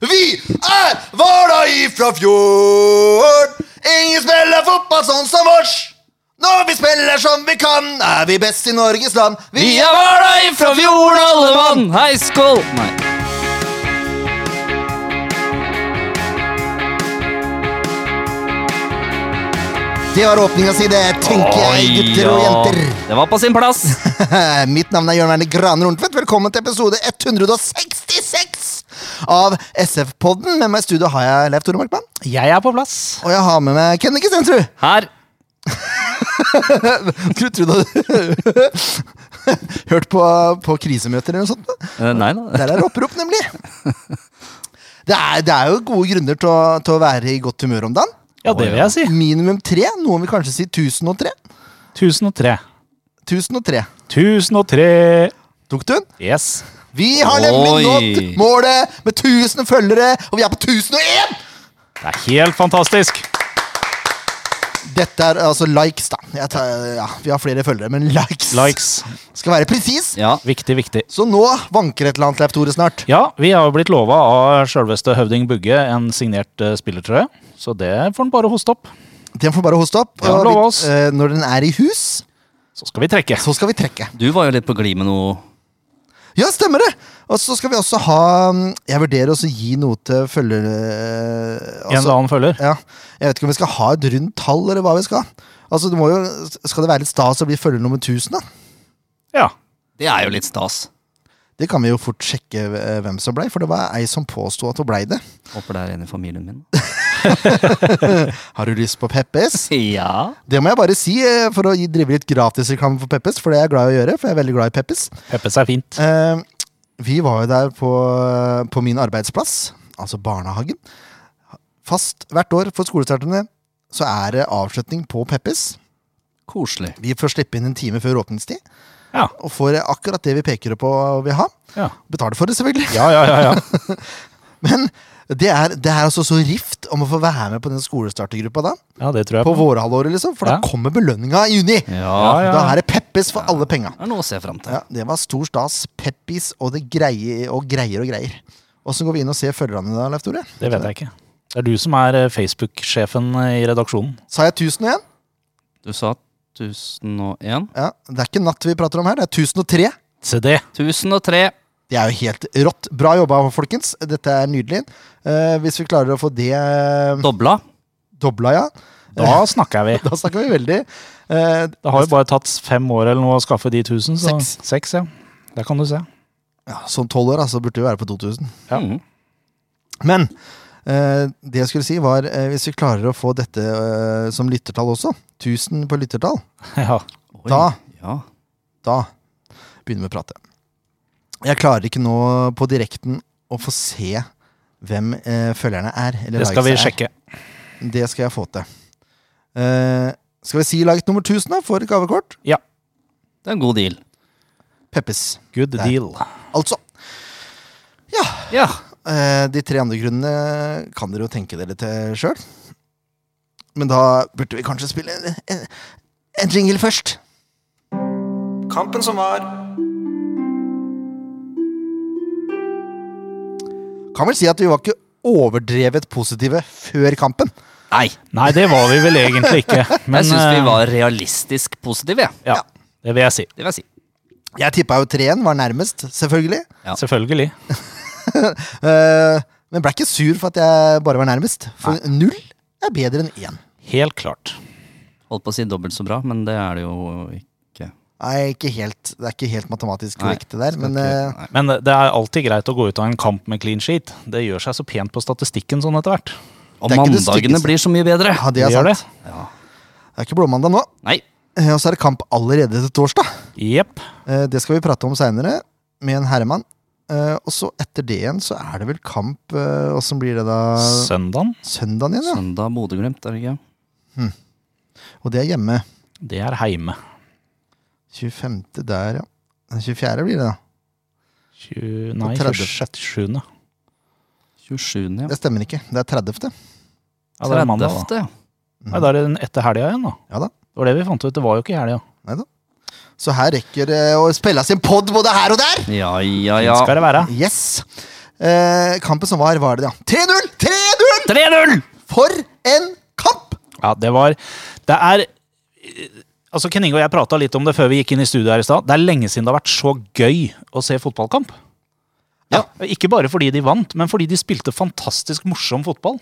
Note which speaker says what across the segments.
Speaker 1: Vi er Vardø ifra fjord. Ingen spiller fotball sånn som oss. Når vi spiller som vi kan, er vi best i Norges land. Vi er Vardø ifra fjord, alle mann.
Speaker 2: Mann, hei, skål! Nei.
Speaker 1: Det var åpninga si, det, tenker jeg, gutter og jenter.
Speaker 2: Det var på sin plass.
Speaker 1: Mitt navn er Jørn Werner Gran Rundtvedt. Velkommen til episode 166 av SF-podden. Med meg i studio har jeg Leif Tore Markmann.
Speaker 3: Jeg er på plass.
Speaker 1: Og jeg har med meg Kenny Kistensrud.
Speaker 2: Her.
Speaker 1: Skulle tro du hadde hørt på, på krisemøter eller noe sånt. da.
Speaker 2: Eh, nei da.
Speaker 1: Der er det opprop, nemlig. Det er, det er jo gode grunner til å, til å være i godt humør om dagen.
Speaker 3: Ja, det vil jeg si.
Speaker 1: Minimum tre. Noen vil kanskje si 1003.
Speaker 3: 1003.
Speaker 1: 1003.
Speaker 3: 1003.
Speaker 1: Tok du den?
Speaker 3: Yes.
Speaker 1: Vi har nemlig
Speaker 2: Oi.
Speaker 1: nådd målet med 1000 følgere, og vi er på 1001!
Speaker 3: Det er helt fantastisk.
Speaker 1: Dette er altså likes, da. Jeg tar, ja, vi har flere følgere, men likes.
Speaker 3: Likes.
Speaker 1: Skal være presis.
Speaker 2: Ja.
Speaker 3: Viktig, viktig.
Speaker 1: Så nå vanker et eller annet Leif Tore snart.
Speaker 3: Ja, vi har jo blitt lova av sjølveste høvding Bugge en signert eh, spillertrøye, så det får han bare hoste opp.
Speaker 1: Den får bare hoste opp.
Speaker 3: Ja,
Speaker 1: og vi-
Speaker 3: lov oss.
Speaker 1: eh, når den er i hus,
Speaker 3: Så skal vi trekke.
Speaker 1: så skal vi trekke.
Speaker 2: Du var jo litt på glid med noe.
Speaker 1: Ja, stemmer det! Og så skal vi også ha mm, Jeg vurderer også å gi noe til følgere
Speaker 3: En eller annen følger.
Speaker 1: Ja. Jeg vet ikke om vi skal ha et rundt tall, eller hva vi skal. Altså, det må jo, Skal det være litt stas å bli følger nummer 1000, da?
Speaker 3: Ja.
Speaker 2: Det er jo litt stas.
Speaker 1: Det kan vi jo fort sjekke eh, hvem som blei, for det var ei som påsto at hun blei det.
Speaker 2: Håper det er en i familien min.
Speaker 1: Har du lyst på Peppes?
Speaker 2: Ja.
Speaker 1: Det må jeg bare si, eh, for å gi- drive litt gratisreklame for Peppes, for det er jeg glad i å gjøre, for jeg er veldig glad i Peppes.
Speaker 3: Peppes er fint.
Speaker 1: Eh, vi var jo der på, på min arbeidsplass, altså barnehagen. Fast hvert år for skolestarterne så er det avslutning på Peppes.
Speaker 2: Koselig.
Speaker 1: Vi får slippe inn en time før åpningstid,
Speaker 3: Ja.
Speaker 1: og får akkurat det vi peker på og vil ha.
Speaker 3: Ja,
Speaker 1: Betaler for det, selvfølgelig.
Speaker 3: ja, ja. ja, ja.
Speaker 1: Men det er, det er altså så rift om å få være med på den skolestartergruppa da.
Speaker 3: ja det tror jeg
Speaker 1: På
Speaker 3: på.
Speaker 1: vårhalvåret, liksom. For da
Speaker 3: Ja.
Speaker 1: kommer belønninga i juni!
Speaker 2: Ja.
Speaker 3: ja.
Speaker 1: Da er det Peppes for alle penga.
Speaker 2: Det er noe å se fram til.
Speaker 1: Ja, det var stor stas. Peppis og det greie og greier og greier. Åssen går vi inn og ser følgerne da, Leif Tore?
Speaker 3: Det vet jeg ikke. Det er du som er eh, Facebook-sjefen eh, i redaksjonen.
Speaker 1: Sa jeg 1000 igjen?
Speaker 2: Du sa 1001.
Speaker 1: Ja, Det er ikke natt vi prater om her, det er 1003.
Speaker 3: Se det.
Speaker 2: 1003.
Speaker 1: Det er jo helt rått. Bra jobba, folkens. Dette er nydelig. Eh, hvis vi klarer å få det eh,
Speaker 2: Dobla.
Speaker 1: dobla, ja,
Speaker 3: Da snakker vi.
Speaker 1: da snakker vi veldig. Eh,
Speaker 3: Det har jo bare tatt fem år eller noe å skaffe de tusen. Så
Speaker 1: Seks.
Speaker 3: Seks, ja. Der kan du se.
Speaker 1: ja, som tolv år, altså, burde vi være på 2000.
Speaker 3: Ja.
Speaker 2: Mm.
Speaker 1: Men eh, det jeg skulle si, var eh, hvis vi klarer å få dette eh, som lyttertall også, 1000 på lyttertall,
Speaker 3: Ja.
Speaker 2: Oi.
Speaker 1: Da.
Speaker 2: Ja.
Speaker 1: da begynner vi å prate. Jeg klarer ikke nå på direkten å få se hvem eh, følgerne er. Eller
Speaker 3: Det skal vi
Speaker 1: likes er.
Speaker 3: sjekke.
Speaker 1: Det skal jeg få til. Eh, skal vi si like nummer 1000 da, for gavekort?
Speaker 3: Ja.
Speaker 2: Det er en god deal.
Speaker 1: Peppes.
Speaker 3: Good
Speaker 1: Der.
Speaker 3: deal.
Speaker 1: Altså. Ja.
Speaker 2: Ja.
Speaker 1: eh, de tre andre grunnene kan dere jo tenke dere til sjøl. Men da burde vi kanskje spille en, en, en jingle først.
Speaker 4: Kampen som var.
Speaker 1: Kan vel si at vi var ikke overdrevet positive før kampen.
Speaker 2: Nei.
Speaker 3: Nei, det var vi vel egentlig ikke. Men
Speaker 2: Jeg syns vi
Speaker 3: eh,
Speaker 2: var realistisk positive, jeg.
Speaker 3: Ja, det vil jeg si.
Speaker 2: Det vil jeg si.
Speaker 1: Jeg tippa jo 3-1 var nærmest, selvfølgelig.
Speaker 2: Ja.
Speaker 3: Selvfølgelig.
Speaker 1: Eh, men ble ikke sur for at jeg bare var nærmest. For null er bedre enn én.
Speaker 3: Helt klart.
Speaker 2: Holdt på å si dobbelt så bra, men det er det jo ikke.
Speaker 1: Nei, ikke helt. Det er ikke helt matematisk
Speaker 2: Nei,
Speaker 1: korrekt, det der. Men
Speaker 2: Skal
Speaker 1: eh,
Speaker 2: ikke- nei.
Speaker 3: Men det er alltid greit å gå ut av en kamp med clean sheet. Det gjør seg så pent på statistikken sånn etter hvert.
Speaker 2: Og
Speaker 1: det er ikke det
Speaker 2: mandagene
Speaker 1: styggeste.
Speaker 2: blir så mye bedre.
Speaker 1: ja, det
Speaker 3: Det
Speaker 1: er
Speaker 3: gjør det.
Speaker 1: sant. Det er ikke blåmandag nå.
Speaker 2: Nei.
Speaker 1: Eh, Og så er det kamp allerede til torsdag.
Speaker 3: Jepp.
Speaker 1: Eh, Det skal vi prate om seinere, med en herremann. Eh, Og så etter det igjen, så er det vel kamp eh, Åssen blir det da?
Speaker 3: Søndagen,
Speaker 1: Søndagen igjen,
Speaker 2: Søndag Bodø-Glimt, er det ikke?
Speaker 1: ja. Og det er hjemme.
Speaker 3: det er heime.
Speaker 1: 25. der, ja. Den 24. blir det, da.
Speaker 3: Tju- Nei,
Speaker 1: På
Speaker 3: 26. sjuende.
Speaker 2: 27. Ja.
Speaker 1: Det stemmer ikke. Det er 30.
Speaker 3: Ja, det er mandag. Da.
Speaker 2: 30., ja.
Speaker 3: Nei, da er det den etter helga igjen, da.
Speaker 1: Ja da.
Speaker 3: Det var det vi fant ut. Det var jo ikke i helga.
Speaker 1: Nei da. Så her rekker det å spilles en pod både her og der!
Speaker 2: Ja, ja,
Speaker 3: Skal
Speaker 2: ja.
Speaker 3: det være.
Speaker 1: Yes. Eh, kampen som var, var det, ja. 3-0! 3-0!
Speaker 2: 3-0!
Speaker 1: For en kamp!
Speaker 3: Ja, det var Det er Altså, Ken Inge og jeg prata litt om det før vi gikk inn i studio her i stad. Det er lenge siden det har vært så gøy å se fotballkamp.
Speaker 1: Ja.
Speaker 3: Ikke bare fordi de vant, men fordi de spilte fantastisk morsom fotball.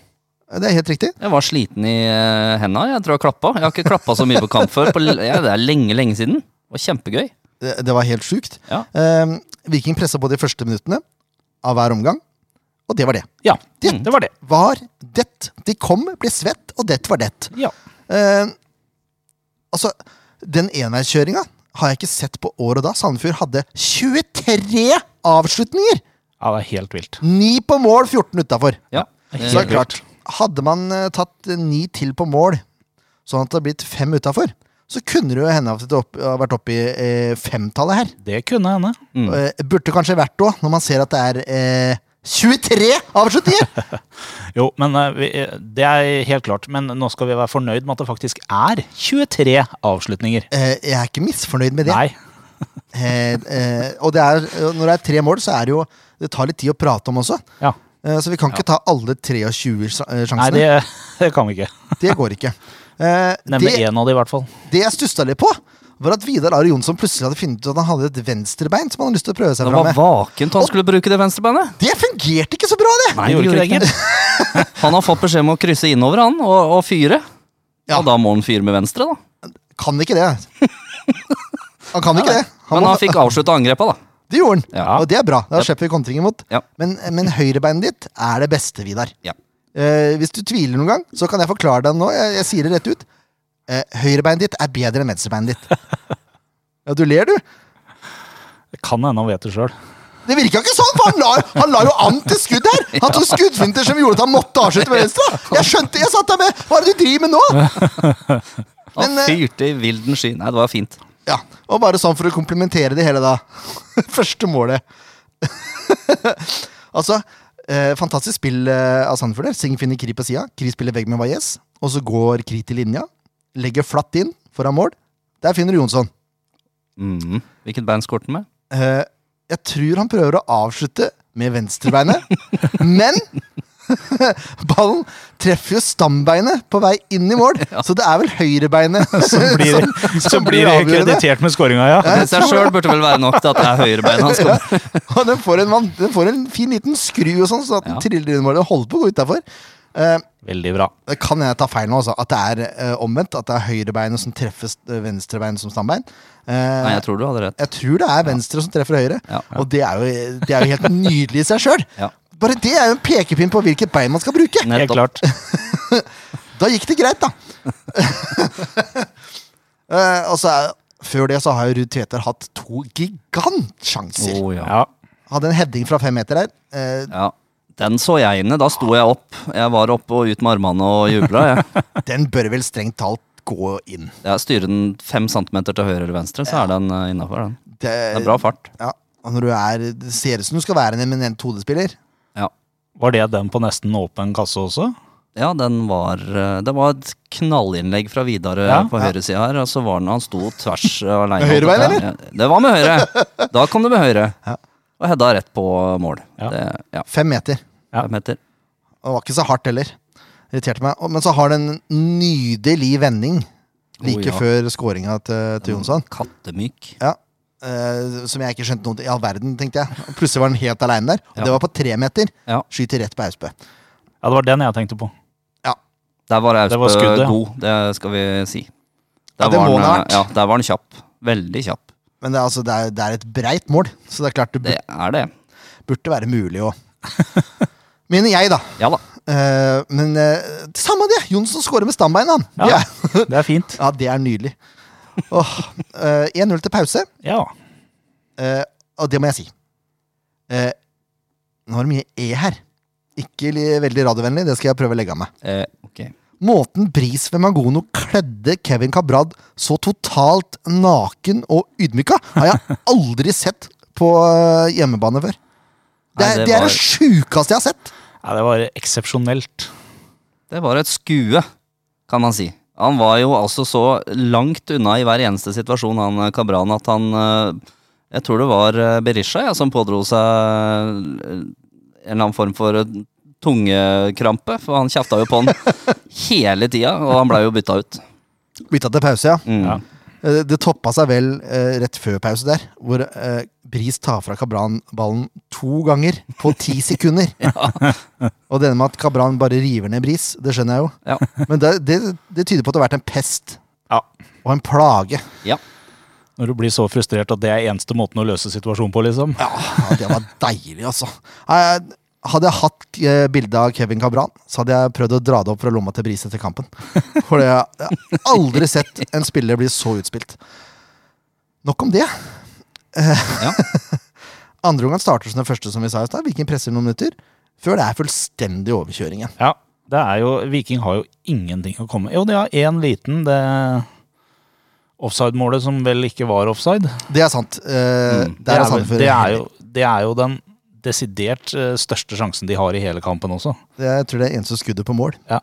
Speaker 1: Det er helt riktig.
Speaker 2: Jeg var sliten i eh, henda. Jeg tror jeg klappa. Jeg har ikke klappa så mye på kamp før. På, l- ja, det er lenge, lenge siden. Det var kjempegøy.
Speaker 1: Det, det var helt sjukt.
Speaker 2: Ja.
Speaker 1: Eh, Viking pressa på de første minuttene av hver omgang, og det var det.
Speaker 3: Ja, det var det.
Speaker 1: Var det. De kom, ble svett, og det var det.
Speaker 3: Ja.
Speaker 1: Eh, altså, den enveiskjøringa har jeg ikke sett på år og da. Sandefjord hadde 23 avslutninger!
Speaker 3: ja, det er helt vilt.
Speaker 1: 9 på mål, 14 utafor.
Speaker 2: Ja.
Speaker 1: Så det
Speaker 2: Eh,
Speaker 1: er klart, hadde man eh, tatt eh, ni til på mål, sånn at det hadde blitt fem utafor, så kunne det jo hende at det opp, har vært oppe i eh, femtallet her.
Speaker 3: Det kunne hende.
Speaker 1: Eh, burde kanskje vært det òg, når man ser at det er eh, 23 avslutninger!
Speaker 3: Jo, men eh, vi, eh, det er helt klart. Men nå skal vi være fornøyd med at det faktisk er 23 avslutninger.
Speaker 1: Eh, jeg er ikke misfornøyd med det.
Speaker 3: Nei.
Speaker 1: Eh, eh, og det er, når det er tre mål, så er det jo Det tar litt tid å prate om også.
Speaker 3: Ja.
Speaker 1: Eh, Så vi kan ikke ta alle 23 sja- eh,
Speaker 3: Nei,
Speaker 1: sjansene.
Speaker 3: det, det kan vi ikke.
Speaker 1: det... går ikke. Eh,
Speaker 3: Nevne
Speaker 1: det,
Speaker 3: én av de, i hvert fall.
Speaker 1: det jeg stussa litt på, var at Vidar Ari Jonsson plutselig hadde funnet ut at han hadde et venstrebein som han hadde lyst til å prøve seg
Speaker 2: Det
Speaker 1: fram
Speaker 2: var
Speaker 1: med.
Speaker 2: vakent han skulle bruke det venstrebeinet.
Speaker 1: Det fungerte ikke så bra, det!
Speaker 2: Nei, det gjorde det ikke. Han har fått beskjed om å krysse innover, han, og, og fyre.
Speaker 1: Ja.
Speaker 2: Og da må han fyre med venstre, da.
Speaker 1: Kan ikke det. Han kan ikke det. Han
Speaker 2: Men
Speaker 1: må,
Speaker 2: han fikk avslutta angrepa, da.
Speaker 1: det gjorde han,
Speaker 2: Ja.
Speaker 1: og det er bra. Da slipper vi kontring imot.
Speaker 2: Ja.
Speaker 1: Men, men høyrebeinet ditt er det beste, Vidar.
Speaker 2: Ja.
Speaker 1: Eh, hvis du tviler noen gang, så kan jeg forklare deg nå. Jeg, jeg sier det rett ut. Eh, høyrebeinet ditt er bedre enn venstrebeinet ditt. ja, du ler, du.
Speaker 3: Det kan hende han vet det sjøl.
Speaker 1: Det virka ikke sånn, for han la, han la jo an til skudd her! Han tok skuddfinter som gjorde at han måtte avslutte med venstre! Jeg skjønte, jeg satt der med Hva er det du driver med nå?!
Speaker 2: Han
Speaker 1: Men, eh,
Speaker 2: fyrte i vilden sky. Nei, det var fint.
Speaker 1: Ja, Og bare sånn for å komplementere det hele, da. Første målet. altså, eh, fantastisk spill eh, av Sandefjord der. Singh finner Kri på sida. Kri spiller vegg med Valles. Og så går Kri til linja. Legger flatt inn foran mål. Der finner du Jonsson.
Speaker 2: Mhm. Hvilket band skåret han med?
Speaker 1: Eh, jeg tror han prøver å avslutte med venstrebeinet, men ballen treffer jo stambeinet på vei inn i mål, så det er vel høyrebeinet som
Speaker 3: Blir, så blir det
Speaker 1: avgjørende.
Speaker 3: kreditert med skåringa, ja.
Speaker 2: Det i seg sjøl burde vel være nok til at det er høyrebeina han skal
Speaker 1: Og den får, en, van- den får en fin liten skru og sånn, sånn at den
Speaker 2: Ja.
Speaker 1: triller inn i mål. Den holder på å gå utafor.
Speaker 3: Veldig bra.
Speaker 1: Det kan jeg ta feil nå, altså. At det er eh, omvendt. At det er høyrebeinet som treffer st- venstrebeinet som stambein. Eh,
Speaker 2: Nei, jeg tror du hadde rett.
Speaker 1: Jeg tror det er venstre som treffer høyre.
Speaker 2: Ja.
Speaker 1: Og det er, jo, det er jo helt nydelig i seg sjøl.
Speaker 2: Ja.
Speaker 1: Bare det er jo en pekepinn på hvilket bein man skal bruke.
Speaker 3: Helt
Speaker 2: Nettopp.
Speaker 3: klart.
Speaker 1: Da gikk det greit, da. Eh, og så er, før det så har jo Ruud Tveter hatt to gigantsjanser.
Speaker 2: Å, ja.
Speaker 3: Ja.
Speaker 1: Hadde en heading fra fem meter der. Eh,
Speaker 2: ja. Den så jeg inne. Da sto jeg opp. Jeg var oppe og ut med armene og jubla. Jeg,
Speaker 1: den bør vel strengt talt gå inn.
Speaker 2: jeg styrer den fem centimeter til høyre eller venstre, så er den innafor, den.
Speaker 1: Det,
Speaker 2: Det er bra fart.
Speaker 1: Ja, og når du er, det ser ut som du skal være en eminent hodespiller.
Speaker 2: Ja.
Speaker 3: Var det den på nesten åpen kasse også?
Speaker 2: Ja, den var eh, Det var et knallinnlegg fra Vidar eh,
Speaker 3: Ja.
Speaker 2: på høyresida her. Og så var den, han sto tvers eh, alene.
Speaker 1: Med høyrebein,
Speaker 2: Ja, ja, Det var med høyre. Da kom det med høyre. Og Hedda rett på mål.
Speaker 3: Ja.
Speaker 2: Det, ja,
Speaker 1: Fem meter.
Speaker 3: Ja.
Speaker 2: fem meter.
Speaker 1: Og det var ikke så hardt heller. Irriterte meg. Og- Men så har den en nydelig vending like
Speaker 2: Å, ja. Mm.
Speaker 1: før skåringa til, til Jonsson.
Speaker 2: Kattemyk.
Speaker 1: Ja. Eh, som jeg ikke skjønte noe til i all verden, tenkte jeg. Plutselig var han helt aleine der. Og
Speaker 2: Ja.
Speaker 1: det var på tre meter.
Speaker 2: Ja.
Speaker 1: Skyter rett på Austbø.
Speaker 3: Ja, det var den jeg tenkte på.
Speaker 1: Ja.
Speaker 2: Der var
Speaker 3: Det var
Speaker 2: Austbø
Speaker 3: skuddet, ja.
Speaker 2: god, det skal vi si.
Speaker 1: Ja, det
Speaker 2: var
Speaker 1: må
Speaker 2: han,
Speaker 1: det ha
Speaker 2: eh,
Speaker 1: vært.
Speaker 2: Ja, der var han kjapp. Veldig kjapp.
Speaker 1: Men det er, altså, det er, det er et breit mål, så det er klart det
Speaker 2: Det
Speaker 1: burde,
Speaker 2: er det.
Speaker 1: burde være mulig å Mener jeg, da.
Speaker 2: Ja da.
Speaker 1: Eh, men eh, samme det! Jonsson scorer med stambeinet, han.
Speaker 3: Ja.
Speaker 1: Ja.
Speaker 3: Det er fint.
Speaker 1: Ja, det er nydelig. Åh, eh, 1-0 til pause,
Speaker 3: Ja.
Speaker 1: eh, og det må jeg si. Eh, nå er det mye E her. Ikke li- veldig radiovennlig, det skal jeg prøve å legge av meg.
Speaker 2: Eh, ok.
Speaker 1: Måten Bris ved Mangono kledde Kevin Cabrad så totalt naken og ydmyka, har jeg aldri sett på eh, hjemmebane før. Det
Speaker 2: Nei,
Speaker 1: er
Speaker 2: det
Speaker 1: det, er
Speaker 2: var-
Speaker 1: det sjukeste jeg har sett.
Speaker 3: ja det var eksepsjonelt.
Speaker 2: Det var et skue, kan man si. Han var jo altså så langt unna i hver eneste situasjon, han eh, Kabran, at han eh, Jeg tror det var eh, Berisha ja, som pådro seg eh, en eller annen form for eh, tungekrampe, for han kjefta jo på han hele tida, og han blei jo bytta ut.
Speaker 1: Bytta til pause, ja.
Speaker 2: Mm.
Speaker 3: Ja.
Speaker 1: Eh, Det toppa seg vel eh, rett før pause der, hvor eh, Bris tar fra Kabran ballen to ganger på ti sekunder. Og denne med at Kabran bare river ned Bris, det skjønner jeg jo.
Speaker 2: Ja.
Speaker 1: Men det, det, det tyder på at det har vært en pest
Speaker 3: Ja.
Speaker 1: og en plage.
Speaker 2: ja.
Speaker 3: Når du blir så frustrert at det er eneste måten å løse situasjonen på, liksom.
Speaker 1: Ja, det var deilig, altså. Nei, Hadde jeg hatt eh, bilde av Kevin Cabran, så hadde jeg prøvd å dra det opp fra lomma til Bris etter kampen. For jeg har aldri sett en spiller bli så utspilt. Nok om det. Eh,
Speaker 2: Ja.
Speaker 1: Andre omgang starter som den første, som vi sa i stad. Viking presser noen minutter. Før det er fullstendig overkjøringen.
Speaker 3: Ja, det er jo Viking har jo ingenting å komme Jo, de har én liten, det offside-målet som vel ikke var offside.
Speaker 1: Det er sant. Eh,
Speaker 2: Mm,
Speaker 1: der er
Speaker 3: vel-
Speaker 1: Sandefjord
Speaker 3: det, er jo, det er jo den desidert eh, største sjansen de har i hele kampen også.
Speaker 1: Jeg tror det er eneste skuddet på mål.
Speaker 3: Ja.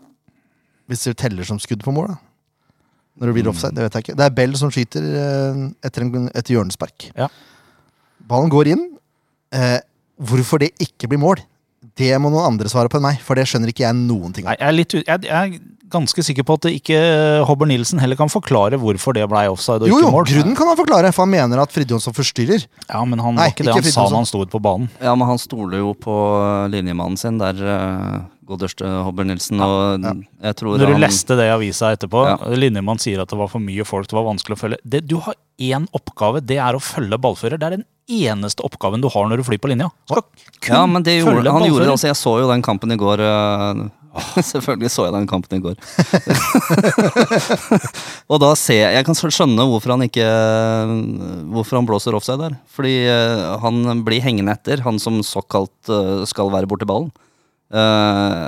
Speaker 1: Hvis det teller som skudd på mål, da. Når
Speaker 3: Mm.
Speaker 1: det blir offside, det vet jeg ikke. Det er Bell som skyter eh, etter, en, etter hjørnespark.
Speaker 3: Ja.
Speaker 1: Ballen går inn. Eh, hvorfor det ikke blir mål, det må noen andre svare på enn meg, for det skjønner ikke jeg noen ting
Speaker 3: Nei,
Speaker 1: av.
Speaker 3: jeg, er litt, u- jeg, jeg er ganske sikker på at det ikke eh, Hobber Nilsen heller kan forklare hvorfor det blei offside og
Speaker 1: Jo, jo,
Speaker 3: ikke mål.
Speaker 1: grunnen kan han forklare, for han mener at Fridtjonsson forstyrrer.
Speaker 3: Ja, men han
Speaker 1: Nei,
Speaker 3: var ikke det
Speaker 1: ikke
Speaker 3: han sa
Speaker 1: Fridtjonsson.
Speaker 3: når han sto ute på banen.
Speaker 2: ja, men han stoler jo på eh, linjemannen sin der, uh, godeste Hobber Nilsen, og jeg tror
Speaker 3: Når du
Speaker 2: han
Speaker 3: leste det i avisa etterpå,
Speaker 2: Ja.
Speaker 3: Linjemann sier at det var for mye folk, det var vanskelig å følge. Det, du har én oppgave, det er å følge ballfører. Det er den eneste oppgaven du har når du flyr på linja. Skal kun
Speaker 2: Ja, men det gjorde,
Speaker 3: følge
Speaker 2: han gjorde
Speaker 3: ballfører.
Speaker 2: det også. Jeg så jo den kampen i går. øh, Selvfølgelig så jeg den kampen i går. og da ser jeg Jeg kan skjønne hvorfor han ikke Hvorfor han blåser offside der. Fordi øh, han blir hengende etter, han som såkalt øh, skal være borti ballen. Eh,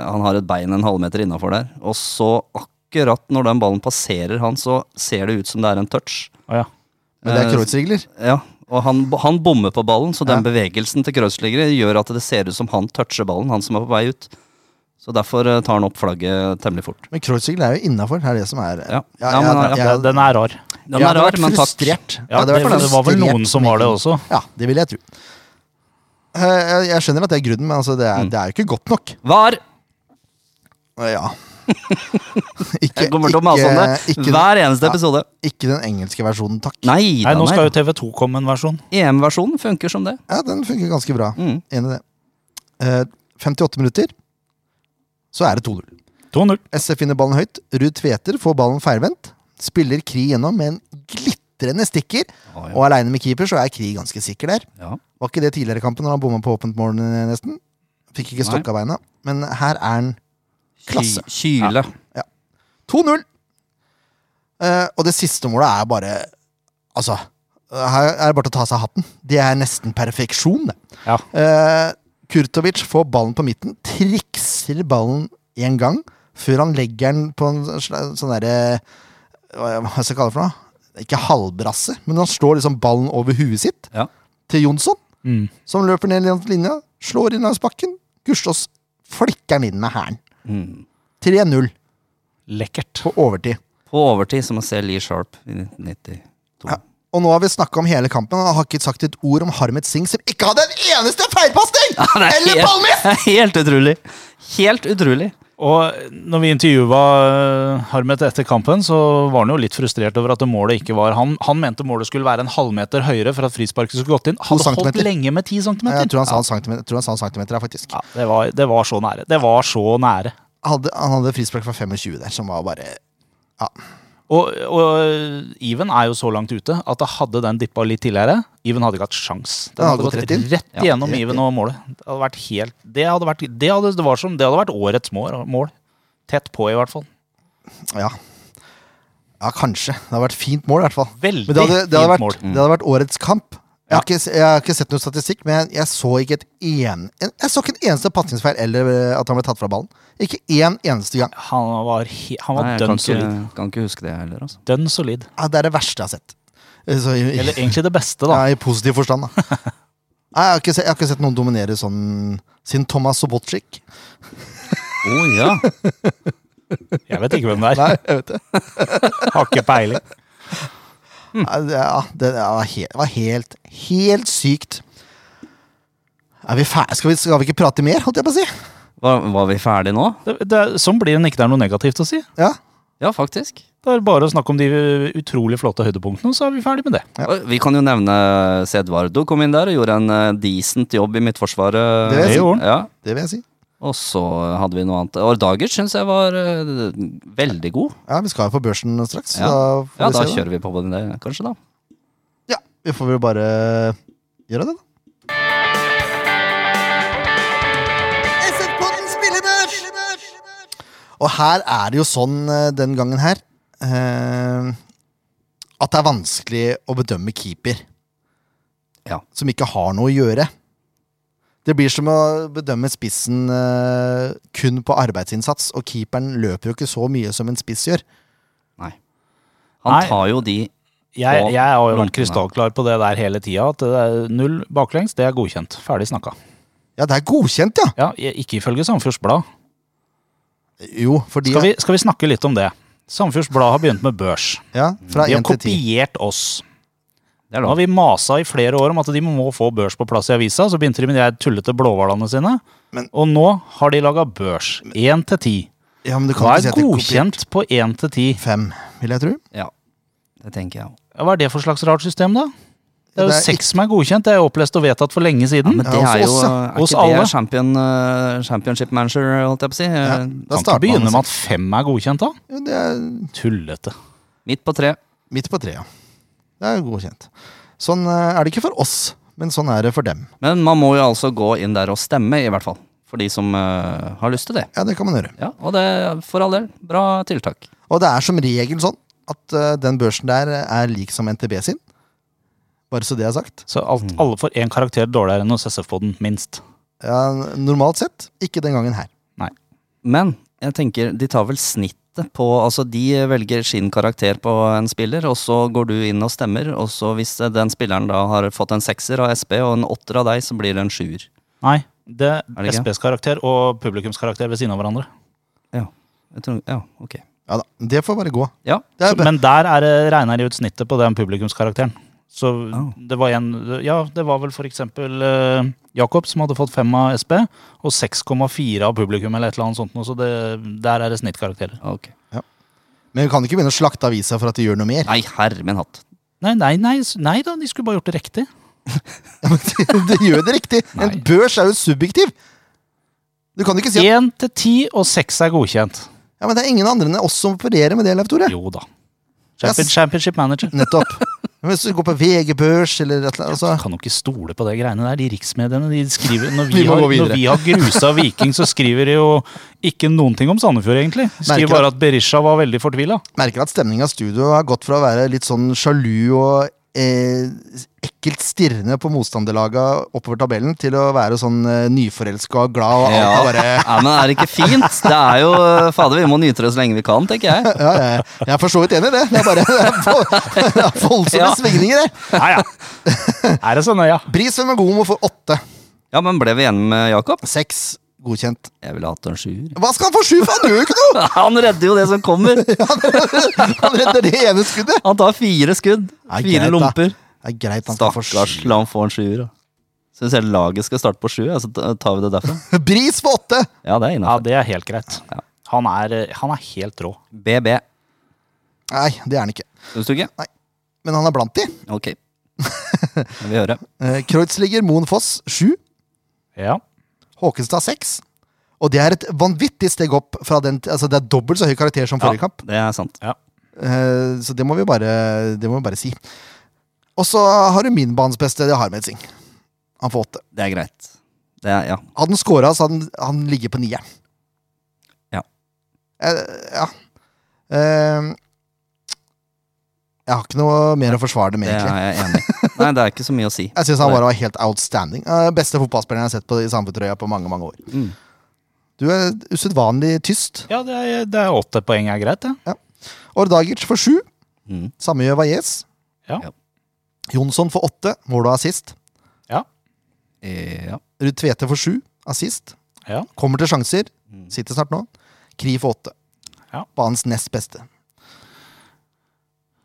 Speaker 2: han har et bein en halvmeter innafor der. Og så akkurat når den ballen passerer han, så ser det ut som det er en touch.
Speaker 3: Å, ja.
Speaker 1: Men det er
Speaker 2: Eh,
Speaker 1: Kreuzrigler.
Speaker 2: Ja, og han, han bommer på ballen, så den bevegelsen til Kreuzligere gjør at det ser ut som han toucher ballen, han som er på vei ut. Så derfor eh, tar han opp flagget temmelig fort.
Speaker 1: Men Kreuzrigler er jo innafor, det er det som er eh,
Speaker 2: Ja. Ja, men han-
Speaker 1: jeg-
Speaker 3: Ja, eh, den er rar.
Speaker 2: Den
Speaker 1: jeg
Speaker 2: er
Speaker 1: hadde
Speaker 2: rar,
Speaker 1: vært
Speaker 2: men takk.
Speaker 1: frustrert. Jeg
Speaker 3: Ja,
Speaker 1: hadde
Speaker 3: det,
Speaker 1: vært
Speaker 3: det var vel
Speaker 1: frustrert
Speaker 3: noen som var det også.
Speaker 1: Ja, det vil jeg tro. Eh, Jeg jeg skjønner at det er grunnen, men altså, det,
Speaker 3: Mm.
Speaker 1: er, det er jo ikke godt nok.
Speaker 2: VAR!
Speaker 1: Eh, Ja. Ikke,
Speaker 2: Jeg kommer til å mase om det
Speaker 1: ikke,
Speaker 2: hver eneste
Speaker 1: Ja.
Speaker 2: episode.
Speaker 1: ikke den engelske versjonen, takk.
Speaker 2: Nei,
Speaker 3: Nei, nå
Speaker 2: den
Speaker 3: skal jo
Speaker 2: er-
Speaker 3: TV2 komme en versjon.
Speaker 2: EM-versjonen funker som det.
Speaker 1: Ja, Den funker ganske bra.
Speaker 2: Mm.
Speaker 1: Enig i det. Eh, 58 minutter, så er det 2-0.
Speaker 3: 2-0.
Speaker 1: SF finner ballen høyt. Ruud Tveter får ballen feilvendt. Spiller Kri gjennom med en glitrende stikker,
Speaker 2: Å, ja.
Speaker 1: og aleine med keeper så er Kri ganske sikker der.
Speaker 2: Ja.
Speaker 1: Var ikke det tidligere i kampen, når han bomma på åpent mål, eh, nesten? Fikk ikke
Speaker 2: Nei.
Speaker 1: stokka beina, men her er han Klasse.
Speaker 2: Ky- Kyle.
Speaker 1: 2-0. Eh, og det siste målet er bare Altså, her er det bare til å ta seg av hatten. Det er nesten perfeksjon, det.
Speaker 3: Ja.
Speaker 1: Eh, Kurtovic får ballen på midten, trikser ballen én gang før han legger den på en sla- sånn derre Hva hva skal jeg kalle det for noe? Ikke halvbrasse, men han slår liksom ballen over huet sitt
Speaker 2: Ja.
Speaker 1: til Jonsson,
Speaker 3: Mm.
Speaker 1: som løper ned langs linja, slår inn langs bakken. Gustavs flikker den inn med hælen.
Speaker 2: Mm.
Speaker 1: 3-0
Speaker 3: Lekkert.
Speaker 1: på overtid.
Speaker 2: På overtid, som å se Lee Sharp i 1992.
Speaker 1: Ja. Og nå har vi snakka om hele kampen, og har ikke sagt et ord om Harmet Singh, som ikke hadde en eneste feilpasning!
Speaker 2: det er
Speaker 1: Eller
Speaker 2: helt-
Speaker 1: ballmist!
Speaker 2: Helt utrolig! Helt utrolig.
Speaker 3: Og når vi intervjua Harmet etter kampen, så var han jo litt frustrert over at det målet ikke var han. Han mente målet skulle være en halvmeter høyere for at frisparket skulle gått inn. Han hadde holdt
Speaker 1: centimeter.
Speaker 3: lenge med ti centimeter.
Speaker 1: Jeg tror han sa en centimeter, jeg tror han sa en centimeter her, faktisk.
Speaker 3: Ja, det, var, det var så nære. Det var så nære.
Speaker 1: Hadde, han hadde frispark fra 25 der, som var bare
Speaker 3: Og, og Even er jo så langt ute at det hadde den dippa litt tidligere. Even hadde ikke hatt sjans. Den
Speaker 1: Den
Speaker 3: hadde
Speaker 1: hadde
Speaker 3: gått
Speaker 1: gått
Speaker 3: rett,
Speaker 1: rett inn.
Speaker 2: Ja,
Speaker 3: gjennom
Speaker 1: rett
Speaker 3: Even
Speaker 1: inn.
Speaker 3: og målet. Det hadde vært helt Det hadde vært, det hadde, det var som, det hadde vært årets mål, mål. Tett på, i hvert fall.
Speaker 1: Ja. Ja, kanskje. Det hadde vært fint mål, i hvert fall.
Speaker 3: Veldig
Speaker 1: Men det hadde, det hadde,
Speaker 3: fint
Speaker 1: vært,
Speaker 3: mål.
Speaker 1: det hadde vært årets kamp. Jeg har, ikke, s- jeg har ikke sett noen statistikk, men jeg, jeg så ikke et en, en, Jeg så ikke en eneste pasningsfeil eller eh, at han ble tatt fra ballen. Ikke én eneste gang.
Speaker 3: Han var, he, han var
Speaker 2: Nei, jeg kan
Speaker 3: dønn solid.
Speaker 2: ikke, kan ikke huske det heller, altså.
Speaker 3: Dønn solid.
Speaker 1: Ja, Ah, det er det verste jeg har sett. Eh, Så, i-
Speaker 3: Eller egentlig det beste, da.
Speaker 1: Ja, I positiv forstand, da. Nei, jeg, har ikke sett, jeg har ikke sett noen dominere sånn siden Thomas Sobotczyk.
Speaker 2: Å ja.
Speaker 3: Jeg vet ikke hvem det er.
Speaker 1: Nei, jeg vet det.
Speaker 3: Har ikke peiling.
Speaker 1: Nei, det- Ja, det det var helt, var helt, helt sykt. Er vi fer- skal, vi, skal vi ikke prate mer, holdt jeg på å si?
Speaker 2: Var, var vi ferdige nå?
Speaker 3: Det, det, er- sånn blir det når ikke det er noe negativt å si.
Speaker 1: Ja.
Speaker 2: Ja, faktisk.
Speaker 3: Det er bare å snakke om de utrolig flotte høydepunktene, så er vi ferdig med det.
Speaker 2: Og Vi kan jo nevne Sedvardo kom inn der og gjorde en eh, decent jobb i Midtforsvaret.
Speaker 1: Det vil jeg si.
Speaker 3: gjorde han.
Speaker 2: Ja.
Speaker 1: Det vil jeg si.
Speaker 2: Og så hadde vi noe annet. Ordager syns jeg var eh, veldig god.
Speaker 1: Ja, Vi skal jo på børsen straks.
Speaker 2: Ja.
Speaker 1: så
Speaker 2: Ja, da
Speaker 1: vi se det.
Speaker 2: kjører vi på med det, kanskje, da.
Speaker 1: Ja, vi får vel bare gjøre det, da. Og her er det jo sånn eh, den gangen her eh, at det er vanskelig å bedømme keeper
Speaker 2: Ja.
Speaker 1: som ikke har noe å gjøre. Det blir som å bedømme spissen eh, kun på arbeidsinnsats, og keeperen løper jo ikke så mye som en spiss gjør.
Speaker 2: Han
Speaker 3: Nei.
Speaker 2: tar jo de
Speaker 3: Jeg,
Speaker 2: Og
Speaker 3: jeg har jo
Speaker 2: lommene.
Speaker 3: vært krystallklar på det der hele tida, at det er null baklengs, det er godkjent. Ferdig snakka.
Speaker 1: Ja, det er godkjent, ja!
Speaker 3: Ja, jeg- ikke ifølge Samfjords Blad.
Speaker 1: Jo, fordi
Speaker 3: Skal, vi- skal vi snakke litt om det? Samfjords Blad har begynt med børs.
Speaker 1: ja, Fra
Speaker 3: De har
Speaker 1: én til ti.
Speaker 3: kopiert oss.
Speaker 2: Det er
Speaker 3: Nå har
Speaker 2: lov.
Speaker 3: vi masa i flere år om at de må få børs på plass i avisa, så begynte de med de her tullete blåhvalene sine.
Speaker 1: Men-
Speaker 3: Og nå har de laga børs. Én til ti.
Speaker 1: Ja, men du kan
Speaker 3: Hva
Speaker 1: ikke
Speaker 3: er
Speaker 1: si at det er kopiert.
Speaker 3: godkjent på én til ti?
Speaker 1: Fem, vil jeg tro.
Speaker 2: Ja, det tenker jeg òg.
Speaker 3: Ja, Hva er det for slags rart system, da? Det er jo
Speaker 1: Det er
Speaker 3: seks som er godkjent. Det er jo opplest og vedtatt for lenge siden.
Speaker 2: Men
Speaker 1: Mm. Ja,
Speaker 2: det
Speaker 1: hos
Speaker 2: er jo
Speaker 1: oss,
Speaker 2: er
Speaker 1: ja.
Speaker 2: ikke
Speaker 3: Hos
Speaker 2: det
Speaker 3: alle.
Speaker 2: er champion, eh, championship manager, holdt jeg på å si.
Speaker 1: Ja,
Speaker 2: Eh,
Speaker 1: da
Speaker 3: Kan ikke
Speaker 1: starter man
Speaker 3: begynne med
Speaker 1: seks.
Speaker 3: at fem er godkjent, da?
Speaker 1: Jo, det er
Speaker 3: Tullete.
Speaker 2: Midt på tre.
Speaker 1: midt på treet. Det er godkjent. Sånn eh, er det ikke for oss, men sånn er det for dem.
Speaker 2: Men man må jo altså gå inn der og stemme, i hvert fall. For de som eh, har lyst til det.
Speaker 1: Ja, det kan man gjøre.
Speaker 2: Ja, Og det, for all del, bra tiltak.
Speaker 1: Og det er som regel sånn at eh, den børsen der er lik som NTB sin. Bare så det er sagt.
Speaker 3: Så alt, alle får én karakter dårligere enn hos SF-poden, minst.
Speaker 1: Ja, normalt sett, ikke den gangen her.
Speaker 2: Men jeg tenker, de tar vel snittet på Altså, de velger sin karakter på en spiller, og så går du inn og stemmer, og så hvis den spilleren da har fått en sekser av SB og en åtter av deg, så blir det en sjuer.
Speaker 3: Nei. Det er
Speaker 2: det ikke?
Speaker 3: SBs karakter og publikumskarakter ved siden av hverandre.
Speaker 2: Ja. Jeg tror, ja, ok.
Speaker 1: Ja da, Det får bare gå.
Speaker 2: Ja.
Speaker 1: Det er,
Speaker 3: Så,
Speaker 1: bra.
Speaker 3: men der er det regner de ut snittet på den publikumskarakteren. Så
Speaker 2: Ah.
Speaker 3: det var en Ja, det var vel for eksempel eh, Jakob som hadde fått fem av SB, og 6,4 av publikum eller et eller annet sånt noe, så det, der er det snittkarakterer.
Speaker 2: ok.
Speaker 1: men vi kan ikke begynne å slakte avisa for at de gjør noe mer.
Speaker 2: Nei, herre min hatt.
Speaker 3: Nei, nei, nei, s- nei da, de skulle bare gjort det riktig.
Speaker 1: Ja, men de, de gjør det riktig! En
Speaker 3: Nei.
Speaker 1: børs er jo subjektiv! Du kan ikke si at
Speaker 3: Én til ti, og seks er godkjent.
Speaker 1: ja, men det er ingen andre enn oss som opererer med det, Leif Tore.
Speaker 3: Jo da.
Speaker 1: Jeg
Speaker 3: Champion,
Speaker 1: s-
Speaker 3: championship manager.
Speaker 1: Nettopp. Men hvis du går på VG Børs eller et eller annet altså,
Speaker 3: Kan jo ikke stole på de greiene der. De riksmediene de skriver Når vi,
Speaker 1: Vi må
Speaker 3: har,
Speaker 1: gå videre.
Speaker 3: når vi har grusa Viking, så skriver de jo ikke noen ting om Sandefjord, egentlig. De
Speaker 1: Merker
Speaker 3: Skriver bare at Berisha var veldig fortvila.
Speaker 1: Merker at stemninga i studio har gått fra å være litt sånn sjalu og eh, ekkelt stirrende på motstanderlaga oppover tabellen, til å være sånn eh, nyforelska og glad og alt
Speaker 2: Ja.
Speaker 1: er bare
Speaker 2: Ja, men er det ikke fint? Det er jo Fader, vi må nyte det så lenge vi kan, tenker jeg.
Speaker 1: ja, jeg, jeg er for så vidt enig i det. Det er bare det er vo- det er voldsomme
Speaker 2: Ja.
Speaker 1: svingninger der.
Speaker 3: Ja, ja. Er det sånn, så nøya?
Speaker 1: Bris for Magomo får åtte.
Speaker 2: Ja, men ble vi enige med Jakob?
Speaker 1: Seks. Godkjent.
Speaker 2: Jeg ville hatt en sjuer.
Speaker 1: Hva skal han få sju for? Han gjør jo ikke noe!
Speaker 2: Han redder jo det som kommer.
Speaker 1: Han redder det ene skuddet.
Speaker 2: Han tar fire skudd.
Speaker 1: Ja, greit,
Speaker 2: Fire
Speaker 1: da.
Speaker 2: lomper.
Speaker 1: Det er greit, han skal få
Speaker 2: Stakkars, la han få en sjuer. da. Syns hele laget skal starte på sju, ja, så ta- tar vi det derfra.
Speaker 1: sju. Bris for åtte.
Speaker 2: Ja, det er
Speaker 3: Ja,
Speaker 2: innafor.
Speaker 3: det er helt greit. Han er, han er helt rå.
Speaker 2: BB.
Speaker 1: Nei, det er han ikke.
Speaker 2: Syns du ikke?
Speaker 1: Men han er blant de.
Speaker 2: Ok. Jeg vil høre.
Speaker 1: Eh, Kreutzliger Moen Foss sju.
Speaker 3: Ja.
Speaker 1: Håkenstad 6. Og det er et vanvittig steg opp fra den Altså det er dobbelt så høy karakter som forrige kamp.
Speaker 2: Det er sant.
Speaker 1: Eh, så det må vi bare Det må vi bare si. Og så har du min banens beste, det er Harmed Singh. Han får åtte.
Speaker 2: Det er greit. Det er, ja.
Speaker 1: Hadde han scora, så hadde han, han ligget på nieren.
Speaker 2: Ja.
Speaker 1: Eh, ja. Eh, jeg har ikke noe mer å forsvare det med,
Speaker 2: Det
Speaker 1: egentlig.
Speaker 2: er jeg enig i. Nei, det er ikke så mye å si.
Speaker 1: Jeg syns han bare var helt outstanding. Eh, beste fotballspilleren jeg har sett på, i Sandefjordtrøya på mange mange år.
Speaker 2: Mm.
Speaker 1: Du er usedvanlig tyst.
Speaker 3: Ja, det er, det er åtte poeng er greit, det.
Speaker 1: Ordagic for sju.
Speaker 2: Mm.
Speaker 1: Samme gjør Valles.
Speaker 3: Ja.
Speaker 2: Ja.
Speaker 1: Jonsson for åtte, mål og assist.
Speaker 2: Eh, Ja.
Speaker 1: Ruud Tvete for sju, assist.
Speaker 3: Ja.
Speaker 1: Kommer til sjanser.
Speaker 2: Mm.
Speaker 1: Sitter snart nå. Kri for åtte.
Speaker 3: Ja.
Speaker 1: Banens nest beste.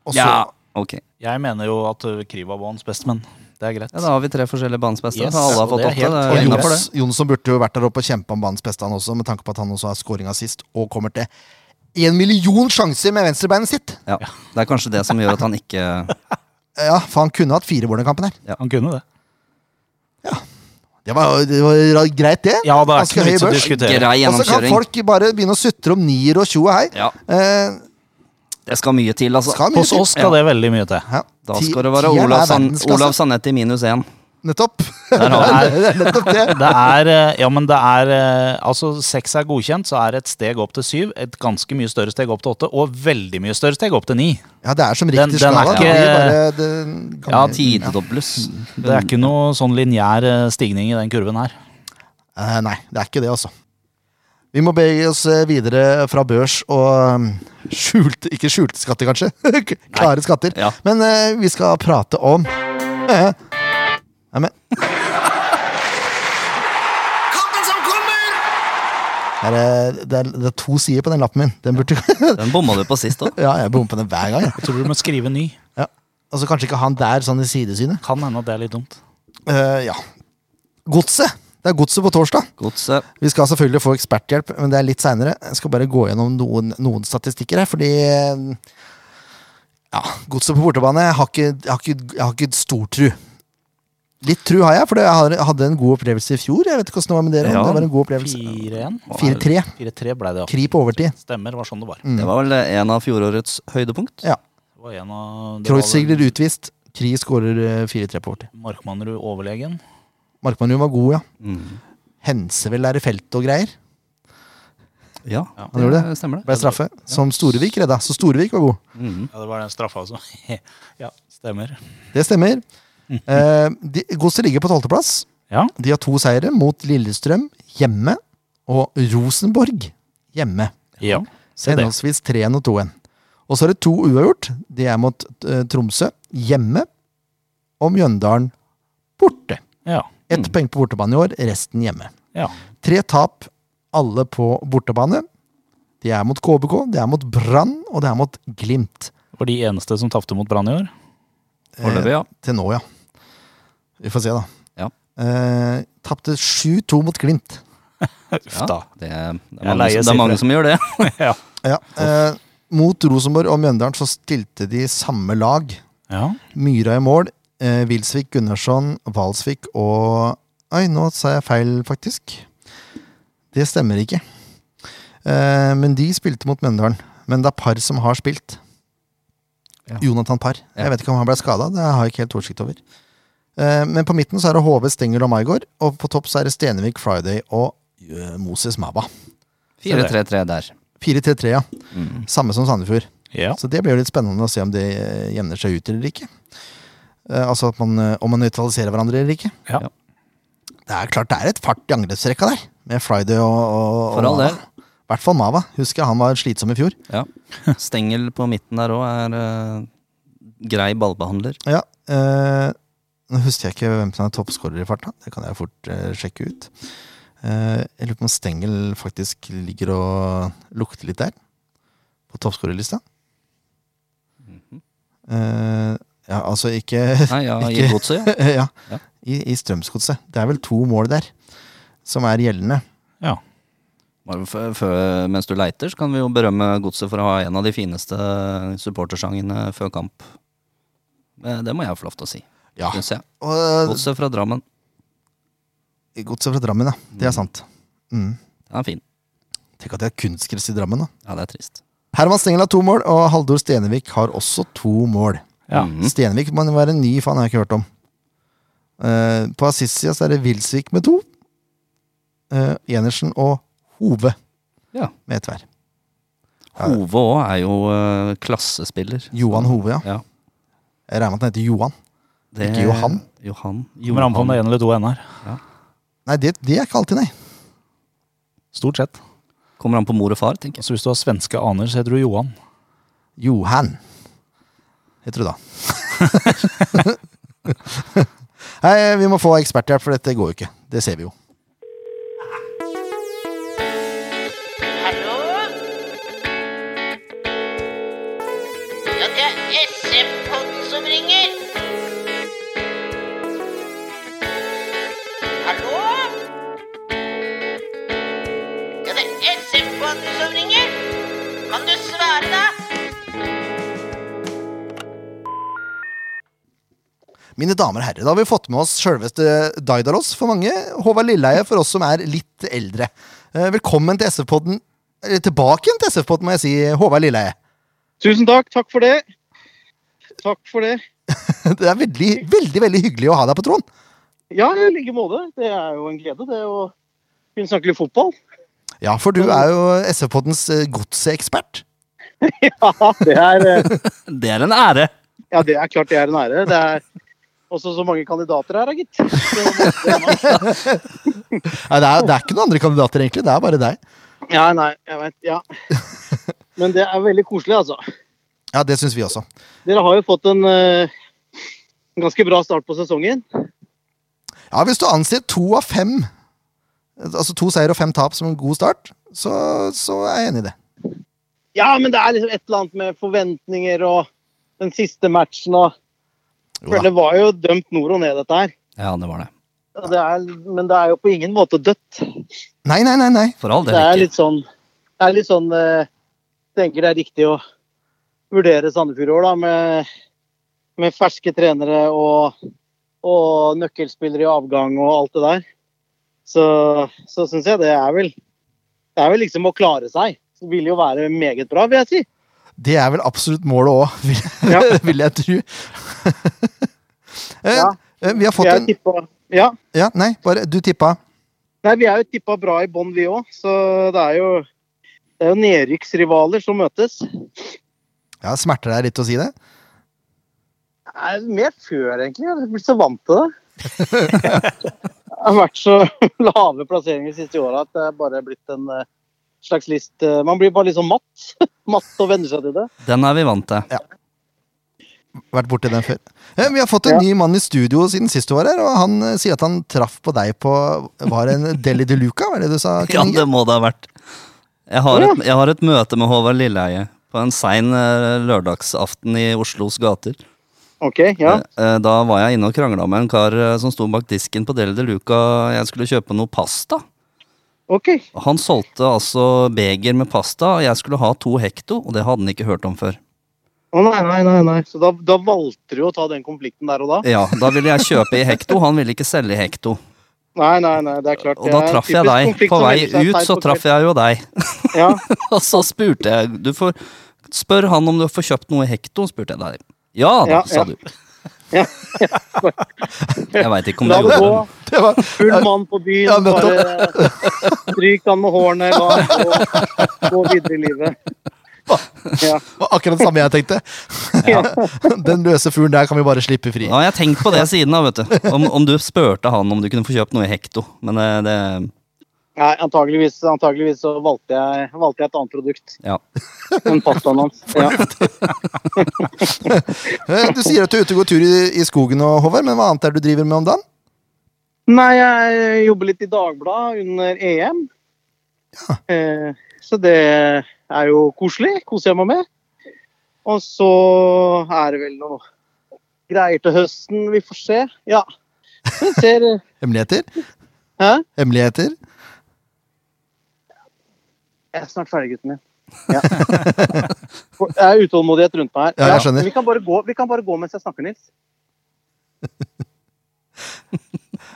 Speaker 1: Og så
Speaker 2: ja. Ok.
Speaker 3: Jeg mener jo at ø, Kriva var hans bestemann. Det er greit.
Speaker 2: Ja, da har vi tre forskjellige banens beste.
Speaker 3: Yes,
Speaker 2: så alle har
Speaker 3: og
Speaker 2: fått
Speaker 3: det er
Speaker 2: åtte.
Speaker 3: helt-
Speaker 2: Det er
Speaker 3: og Jonas-
Speaker 1: Og
Speaker 2: innenfor det.
Speaker 1: Jons, Jonsson burde jo vært der oppe og kjempa om banens beste, han også, med tanke på at han også har scoringa sist, og kommer til en million sjanser med venstrebeinet sitt.
Speaker 2: Ja. Det er kanskje det som gjør at han ikke
Speaker 1: Ja, for han kunne hatt fire mål i kampen her.
Speaker 3: Han kunne det.
Speaker 1: Det var, det var ra- greit, det.
Speaker 3: Ja, det er
Speaker 1: Ganske
Speaker 3: ikke noe
Speaker 1: høy
Speaker 3: vits å
Speaker 1: børs.
Speaker 2: grei
Speaker 3: diskutere.
Speaker 1: Og så kan
Speaker 2: gjennomkjøring.
Speaker 1: folk bare begynne å sutre om nier og tjo og hei.
Speaker 2: Ja,
Speaker 1: Eh,
Speaker 2: det skal mye til, altså.
Speaker 1: skal mye
Speaker 3: Hos oss skal det veldig mye til.
Speaker 1: Ja.
Speaker 2: Da
Speaker 1: Ti-
Speaker 2: skal det være
Speaker 1: tieren er
Speaker 2: Olav, San
Speaker 1: verdensklasse.
Speaker 2: Olav Sanetti minus én.
Speaker 1: Nettopp.
Speaker 2: Der har vi
Speaker 1: det er nettopp det.
Speaker 3: Det er eh, Ja, men det er eh, Altså, seks er godkjent, så er det et steg opp til syv, et ganske mye større steg opp til åtte, og veldig mye større steg opp til ni.
Speaker 1: Ja, det er som
Speaker 3: Den-
Speaker 1: riktig
Speaker 3: den er
Speaker 1: skala.
Speaker 3: ikke-
Speaker 1: Det blir bare- det kan-
Speaker 3: Ja,
Speaker 2: den. Tidedobles.
Speaker 3: Det er ikke noe sånn lineær eh, stigning i den kurven her.
Speaker 1: Eh, nei, det er ikke det, altså. Vi må bevege oss eh, videre fra børs og um, skjulte Ikke skjulte skatter, kanskje. Klare skatter.
Speaker 2: Ja.
Speaker 1: Men eh, vi skal prate om eh, Nei, men
Speaker 4: Kampen som kommer!
Speaker 1: det er, eh, det, er, det er to sider på den lappen min. Den burde
Speaker 2: Den bomma du på sist òg.
Speaker 1: Ja, jeg bommer på den hver gang. jeg.
Speaker 3: Jeg tror du må skrive ny.
Speaker 1: Ja. Altså Kanskje ikke han der, sånn i sidesynet.
Speaker 3: Kan hende at det er litt dumt.
Speaker 1: Eh, ja. Godset. Det er Godset på torsdag.
Speaker 2: Godset.
Speaker 1: Vi skal selvfølgelig få eksperthjelp, men det er litt seinere. Jeg skal bare gå gjennom noen, noen statistikker her, fordi eh, Ja, godset på bortebane jeg har ikke, jeg har ikke, jeg har ikke stor tru. Litt tru har jeg, for jeg har- hadde en god opplevelse i fjor. Jeg vet ikke hvordan det var med dere. om
Speaker 2: Ja,
Speaker 1: det var en god opplevelse.
Speaker 3: 4-1?
Speaker 1: 4-3.
Speaker 3: 4-3 ble det, ja.
Speaker 1: Kri på overtid.
Speaker 3: Stemmer, var sånn det var.
Speaker 2: Det var vel en av fjorårets høydepunkt.
Speaker 1: Ja.
Speaker 3: Det var en av det var
Speaker 1: Kreutz sigler
Speaker 3: vel
Speaker 1: utvist. Kri skårer eh, 4-3 på overtid.
Speaker 3: Markmannrud overlegen.
Speaker 1: Markmannrud var god, ja.
Speaker 2: Mm.
Speaker 1: Hense vel er i feltet og greier.
Speaker 2: Ja,
Speaker 1: Han gjorde det.
Speaker 2: stemmer det.
Speaker 1: Ble straffe. Som Storevik redda. Så Storevik var god.
Speaker 2: Mm.
Speaker 3: Ja, det var den straffa som Ja, stemmer.
Speaker 1: Det stemmer. Eh, de- Godset ligger på tolvteplass.
Speaker 3: Ja.
Speaker 1: De har to seire mot Lillestrøm hjemme og Rosenborg hjemme.
Speaker 3: ja. Se det.
Speaker 1: Henholdsvis 3-1 og 2-1. Og så er det to uavgjort. Det er mot eh, Tromsø hjemme og Mjøndalen borte.
Speaker 3: Ja.
Speaker 1: Ett poeng på bortebane i år, resten hjemme.
Speaker 3: ja.
Speaker 1: Tre tap, alle på bortebane. Det er mot KBK, det er mot Brann, og det er mot Glimt.
Speaker 3: Var de eneste som tapte mot Brann i år?
Speaker 2: Foreløpig, ja.
Speaker 1: Til nå, ja. Vi får se, da.
Speaker 2: Ja.
Speaker 1: Eh, Tapte 7-2 mot Glimt.
Speaker 3: Uff da.
Speaker 2: Eh, Det, det,
Speaker 3: Jeg
Speaker 2: er mange, som-
Speaker 3: leier
Speaker 2: det er mange
Speaker 3: siffre.
Speaker 2: som gjør det.
Speaker 3: Ja.
Speaker 1: Ja, eh, mot Rosenborg og Mjøndalen så stilte de samme lag.
Speaker 3: ja.
Speaker 1: Myra i mål, eh, Wilsvik, Gunnarsson, Valsvik og Oi, nå sa jeg feil, faktisk. Det stemmer ikke. Eh, men de spilte mot Mjøndalen. Men det er par som har spilt. Jonathan Parr.
Speaker 2: Ja.
Speaker 1: Jeg vet ikke om han ble skada. Det har jeg ikke helt oversikt over. Eh, men på midten så er det HV, Stengel og Maigård. Og på topp så er det Stenevik, Friday og eh, Moses Maba.
Speaker 2: 4-3-3 der.
Speaker 1: 4-3-3, ja.
Speaker 2: Mm.
Speaker 1: Samme som Sandefjord.
Speaker 3: ja.
Speaker 1: Så det blir jo litt spennende å se om det eh, jevner seg ut eller ikke. Eh, altså at man, eh, om man nøytraliserer hverandre eller ikke.
Speaker 3: Ja.
Speaker 1: Det er klart det er et fart i angrepsrekka der, med Friday og, og,
Speaker 2: For all
Speaker 1: og
Speaker 2: del.
Speaker 1: Mava. I hvert fall Mava. Husker han var slitsom i fjor.
Speaker 2: Ja. Stengel på midten der òg er eh, grei ballbehandler.
Speaker 1: Ja, eh, Nå husker jeg ikke hvem som er toppskårer i farta. Det kan jeg fort eh, sjekke ut. Eh, jeg lurer på om Stengel faktisk ligger og lukter litt der, på toppskårerlista.
Speaker 2: Mhm.
Speaker 1: Eh, ja, altså ikke
Speaker 2: Nei, ja, i
Speaker 1: Ikke-
Speaker 2: godset, ja.
Speaker 1: ja,
Speaker 2: Ja.
Speaker 1: i, i Strømsgodset. Det er vel to mål der som er gjeldende.
Speaker 3: ja.
Speaker 2: Bare før- før- Mens du leiter, så kan vi jo berømme godset for å ha en av de fineste supportersangene før kamp. Eh, Det må jeg få lov til å si,
Speaker 1: Ja.
Speaker 2: syns jeg.
Speaker 1: Og
Speaker 2: Godset fra Drammen.
Speaker 1: godset fra Drammen, ja. Det er sant. Mm.
Speaker 2: Den er fin.
Speaker 1: Tenk at det er kunstgress i Drammen, da.
Speaker 2: Ja, det er trist.
Speaker 1: Herman Stengel har to mål, og Haldor Stenevik har også to mål.
Speaker 3: Ja.
Speaker 2: Mhm.
Speaker 1: Stenvik må være ny, for han har jeg ikke hørt om. Eh, på Assisia så er det Wilsvik med to. Eh, Enersen og Hove
Speaker 2: Ja.
Speaker 1: med ett hver.
Speaker 2: Hove òg er jo eh, klassespiller.
Speaker 1: Johan Hove, ja.
Speaker 2: Ja.
Speaker 1: Jeg regner med at han heter Johan.
Speaker 2: Det-
Speaker 1: Ikke Johan?
Speaker 2: Johan.
Speaker 3: Kommer an på om det
Speaker 2: Johan.
Speaker 3: er én eller to NR.
Speaker 1: Nei, det, det er ikke alltid, nei.
Speaker 3: Stort sett.
Speaker 2: Kommer an på mor og far, tenker jeg.
Speaker 3: Altså Hvis du har svenske aner, så heter du Johan.
Speaker 1: Johan heter du da. Nei, vi må få eksperthjelp, for dette går jo ikke. Det ser vi jo.
Speaker 5: Hallo? Ja, det er SM-podden som ringer. hilser på andre som ringer? Kan du svare, da?
Speaker 1: Mine damer og herrer, da har vi fått med oss sjølveste Daidalos for mange. Håvard Lilleheie for oss som er litt eldre. Eh, Velkommen til SF-podden. Eller tilbake igjen til SF-podden, må jeg si. Håvard Lilleheie.
Speaker 6: Tusen takk. Takk for det. Takk for det.
Speaker 1: Det er veldig, veldig veldig hyggelig å ha deg på tråden.
Speaker 6: Ja, i like måte. Det er jo en glede, det å kunne snakke litt fotball.
Speaker 1: Ja, for du er jo SF-poddens eh, godsekspert.
Speaker 6: Ja, det er, eh,
Speaker 2: Det er en ære!
Speaker 6: ja, det er klart det er en ære. Det er også så mange kandidater her, da, gitt. Så-
Speaker 1: Nei, det, er- det er ikke noen andre kandidater, egentlig. Det er bare deg.
Speaker 6: Ja, nei, jeg vet. Ja. Men det er veldig koselig, altså.
Speaker 1: Ja, det syns vi også.
Speaker 6: Dere har jo fått en eh, ganske bra start på sesongen.
Speaker 1: Ja, hvis du anser to av fem, altså to seier og fem tap, som en god start, så, så er jeg enig i det.
Speaker 6: Ja, men det er liksom et eller annet med forventninger og den siste matchen og
Speaker 1: Jo
Speaker 6: For
Speaker 1: da.
Speaker 6: det var jo dømt nord og ned, dette her.
Speaker 2: Ja, det var det.
Speaker 6: Ja, Det er, men det er jo på ingen måte dødt.
Speaker 1: Nei, nei, nei. nei.
Speaker 2: For all
Speaker 6: Det
Speaker 2: del
Speaker 6: er
Speaker 2: ikke.
Speaker 6: litt sånn Det er litt sånn eh, Tenker det er riktig å vurdere Sandefjord i år, da, med, med ferske trenere og, og nøkkelspillere i avgang og alt det der. Så, så syns jeg det er vel Det er vel liksom å klare seg. Det vil jo være meget bra, vil jeg si.
Speaker 1: Det er vel absolutt målet òg, vil,
Speaker 6: Ja.
Speaker 1: vil jeg tro. Eh,
Speaker 6: Ja.
Speaker 1: eh, Vi har
Speaker 6: Vi
Speaker 1: fått
Speaker 6: er
Speaker 1: en
Speaker 6: tippa, ja.
Speaker 1: Ja, nei, bare Du tippa.
Speaker 6: Nei, vi er jo tippa bra i bånn, vi òg. Så det er jo det er jo nedrykksrivaler som møtes.
Speaker 1: Ja, Smerter deg litt å si det?
Speaker 6: Nei, mer før, egentlig. Jeg har blitt så vant til det. Jeg har vært så lave plasseringer de siste åra at det er bare blitt en eh, slags list. eh, Man blir bare litt sånn matt. Matt og venner seg til det.
Speaker 2: Den er vi vant til.
Speaker 1: Vært borti den før. Eh, Vi har fått en
Speaker 6: Ja.
Speaker 1: ny mann i studio siden sist du var her, og han eh, sier at han traff på deg på Var det en Deli de Luca, var det du sa?
Speaker 2: Ja,
Speaker 1: Kenny?
Speaker 2: det må det ha vært. Jeg har et, jeg har et møte med Håvard Lilleheie på en sein eh, lørdagsaften i Oslos gater.
Speaker 6: OK, ja.
Speaker 2: Eh, eh, Da var jeg inne og krangla med en kar eh, som sto bak disken på Deli de Luca. Jeg skulle kjøpe noe pasta.
Speaker 6: OK.
Speaker 2: Han solgte altså beger med pasta, og jeg skulle ha to hekto, og det hadde han ikke hørt om før.
Speaker 6: Å nei, nei, nei. nei. Så da, da valgte du å ta den konflikten der og da?
Speaker 2: Ja, Da ville jeg kjøpe i hekto, han ville ikke selge i hekto.
Speaker 6: Nei, nei, nei, det er klart.
Speaker 2: Og da traff jeg deg. På vei ut så traff jeg jo deg.
Speaker 6: Ja,
Speaker 2: Og så spurte jeg du får, Spør han om du får kjøpt noe i hekto, spurte jeg deg. Ja da,
Speaker 6: Ja,
Speaker 2: sa
Speaker 6: ja.
Speaker 2: du.
Speaker 6: Ja.
Speaker 2: Jeg veit ikke om du
Speaker 6: La det
Speaker 2: gjorde
Speaker 6: gå.
Speaker 2: det.
Speaker 1: Det var,
Speaker 6: Full mann på byen.
Speaker 1: Ja,
Speaker 6: bare stryk han med hårene la han gå, gå videre i livet. Ja.
Speaker 1: var akkurat det samme jeg tenkte.
Speaker 6: Ja.
Speaker 1: Den løse fuglen der kan vi bare slippe fri.
Speaker 2: Ja, jeg har tenkt på det siden, da, vet du. Om, om du spurte han om du kunne få kjøpt noe i hekto. Men det, det
Speaker 6: Nei, antageligvis, antageligvis så valgte jeg, valgte jeg et annet produkt
Speaker 2: Ja.
Speaker 6: enn pastaen hans. Ja.
Speaker 1: Eh, Du sier at du er ute og går tur i, i skogen, og, Håvard, men hva annet er det du driver med om dagen?
Speaker 6: Nei, jeg jobber litt i Dagbladet under EM. Eh, så det er jo koselig. Koser jeg meg med. Og så er det vel noe greier til høsten. Vi får se. Ja. Vi ser
Speaker 1: Hemmeligheter?
Speaker 6: Hæ?
Speaker 1: Hemmeligheter?
Speaker 6: Jeg er snart ferdig, gutten min. Ja. Det er utålmodighet rundt meg her.
Speaker 1: Ja, jeg skjønner.
Speaker 6: Vi kan, bare gå, vi kan bare gå mens jeg snakker, Nils.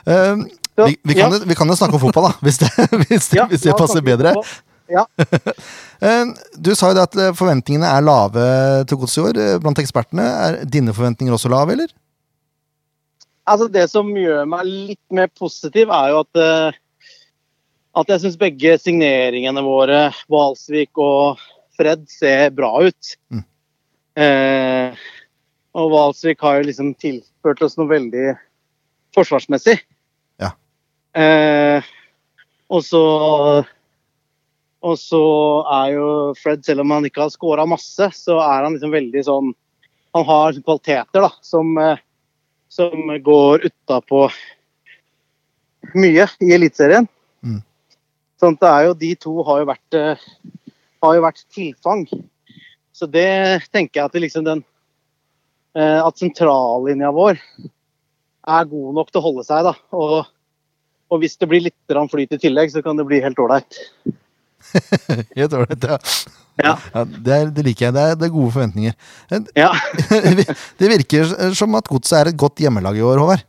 Speaker 1: Eh,
Speaker 6: Så,
Speaker 1: vi, vi, kan, jo- vi kan jo snakke om fotball, da, hvis det, hvis det,
Speaker 6: ja,
Speaker 1: hvis
Speaker 6: la
Speaker 1: det
Speaker 6: oss
Speaker 1: passer
Speaker 6: snakke
Speaker 1: bedre.
Speaker 6: om fotball.
Speaker 1: Eh, Du sa jo det at eh, forventningene er lave til gods i år eh, blant ekspertene. Er dine forventninger også lave, eller?
Speaker 6: Altså, det som gjør meg litt mer positiv, er jo at, eh, at jeg syns begge signeringene våre, Hvalsvik og Fred, ser bra ut.
Speaker 1: Mm.
Speaker 6: Eh, og Hvalsvik har jo liksom tilført oss noe veldig forsvarsmessig.
Speaker 1: Ja.
Speaker 6: Eh, og så og så er jo Fred, selv om han ikke har scora masse, så er han liksom veldig sånn Han har kvaliteter da, som, eh, som går utapå mye i Eliteserien.
Speaker 1: Mm.
Speaker 6: Sånn at det er jo De to har jo vært, eh, har jo vært tilfang. Så det tenker jeg at det liksom den eh, At sentrallinja vår er god nok til å holde seg, da. Og, og hvis det blir litt grann flyt i tillegg, så kan det bli helt ålreit.
Speaker 1: Helt ålreit, ja.
Speaker 6: Ja.
Speaker 1: Ja, det, er, det liker jeg. Det er, det er gode forventninger.
Speaker 6: Ja.
Speaker 1: Det virker som at godset er et godt hjemmelag i år, Håvard.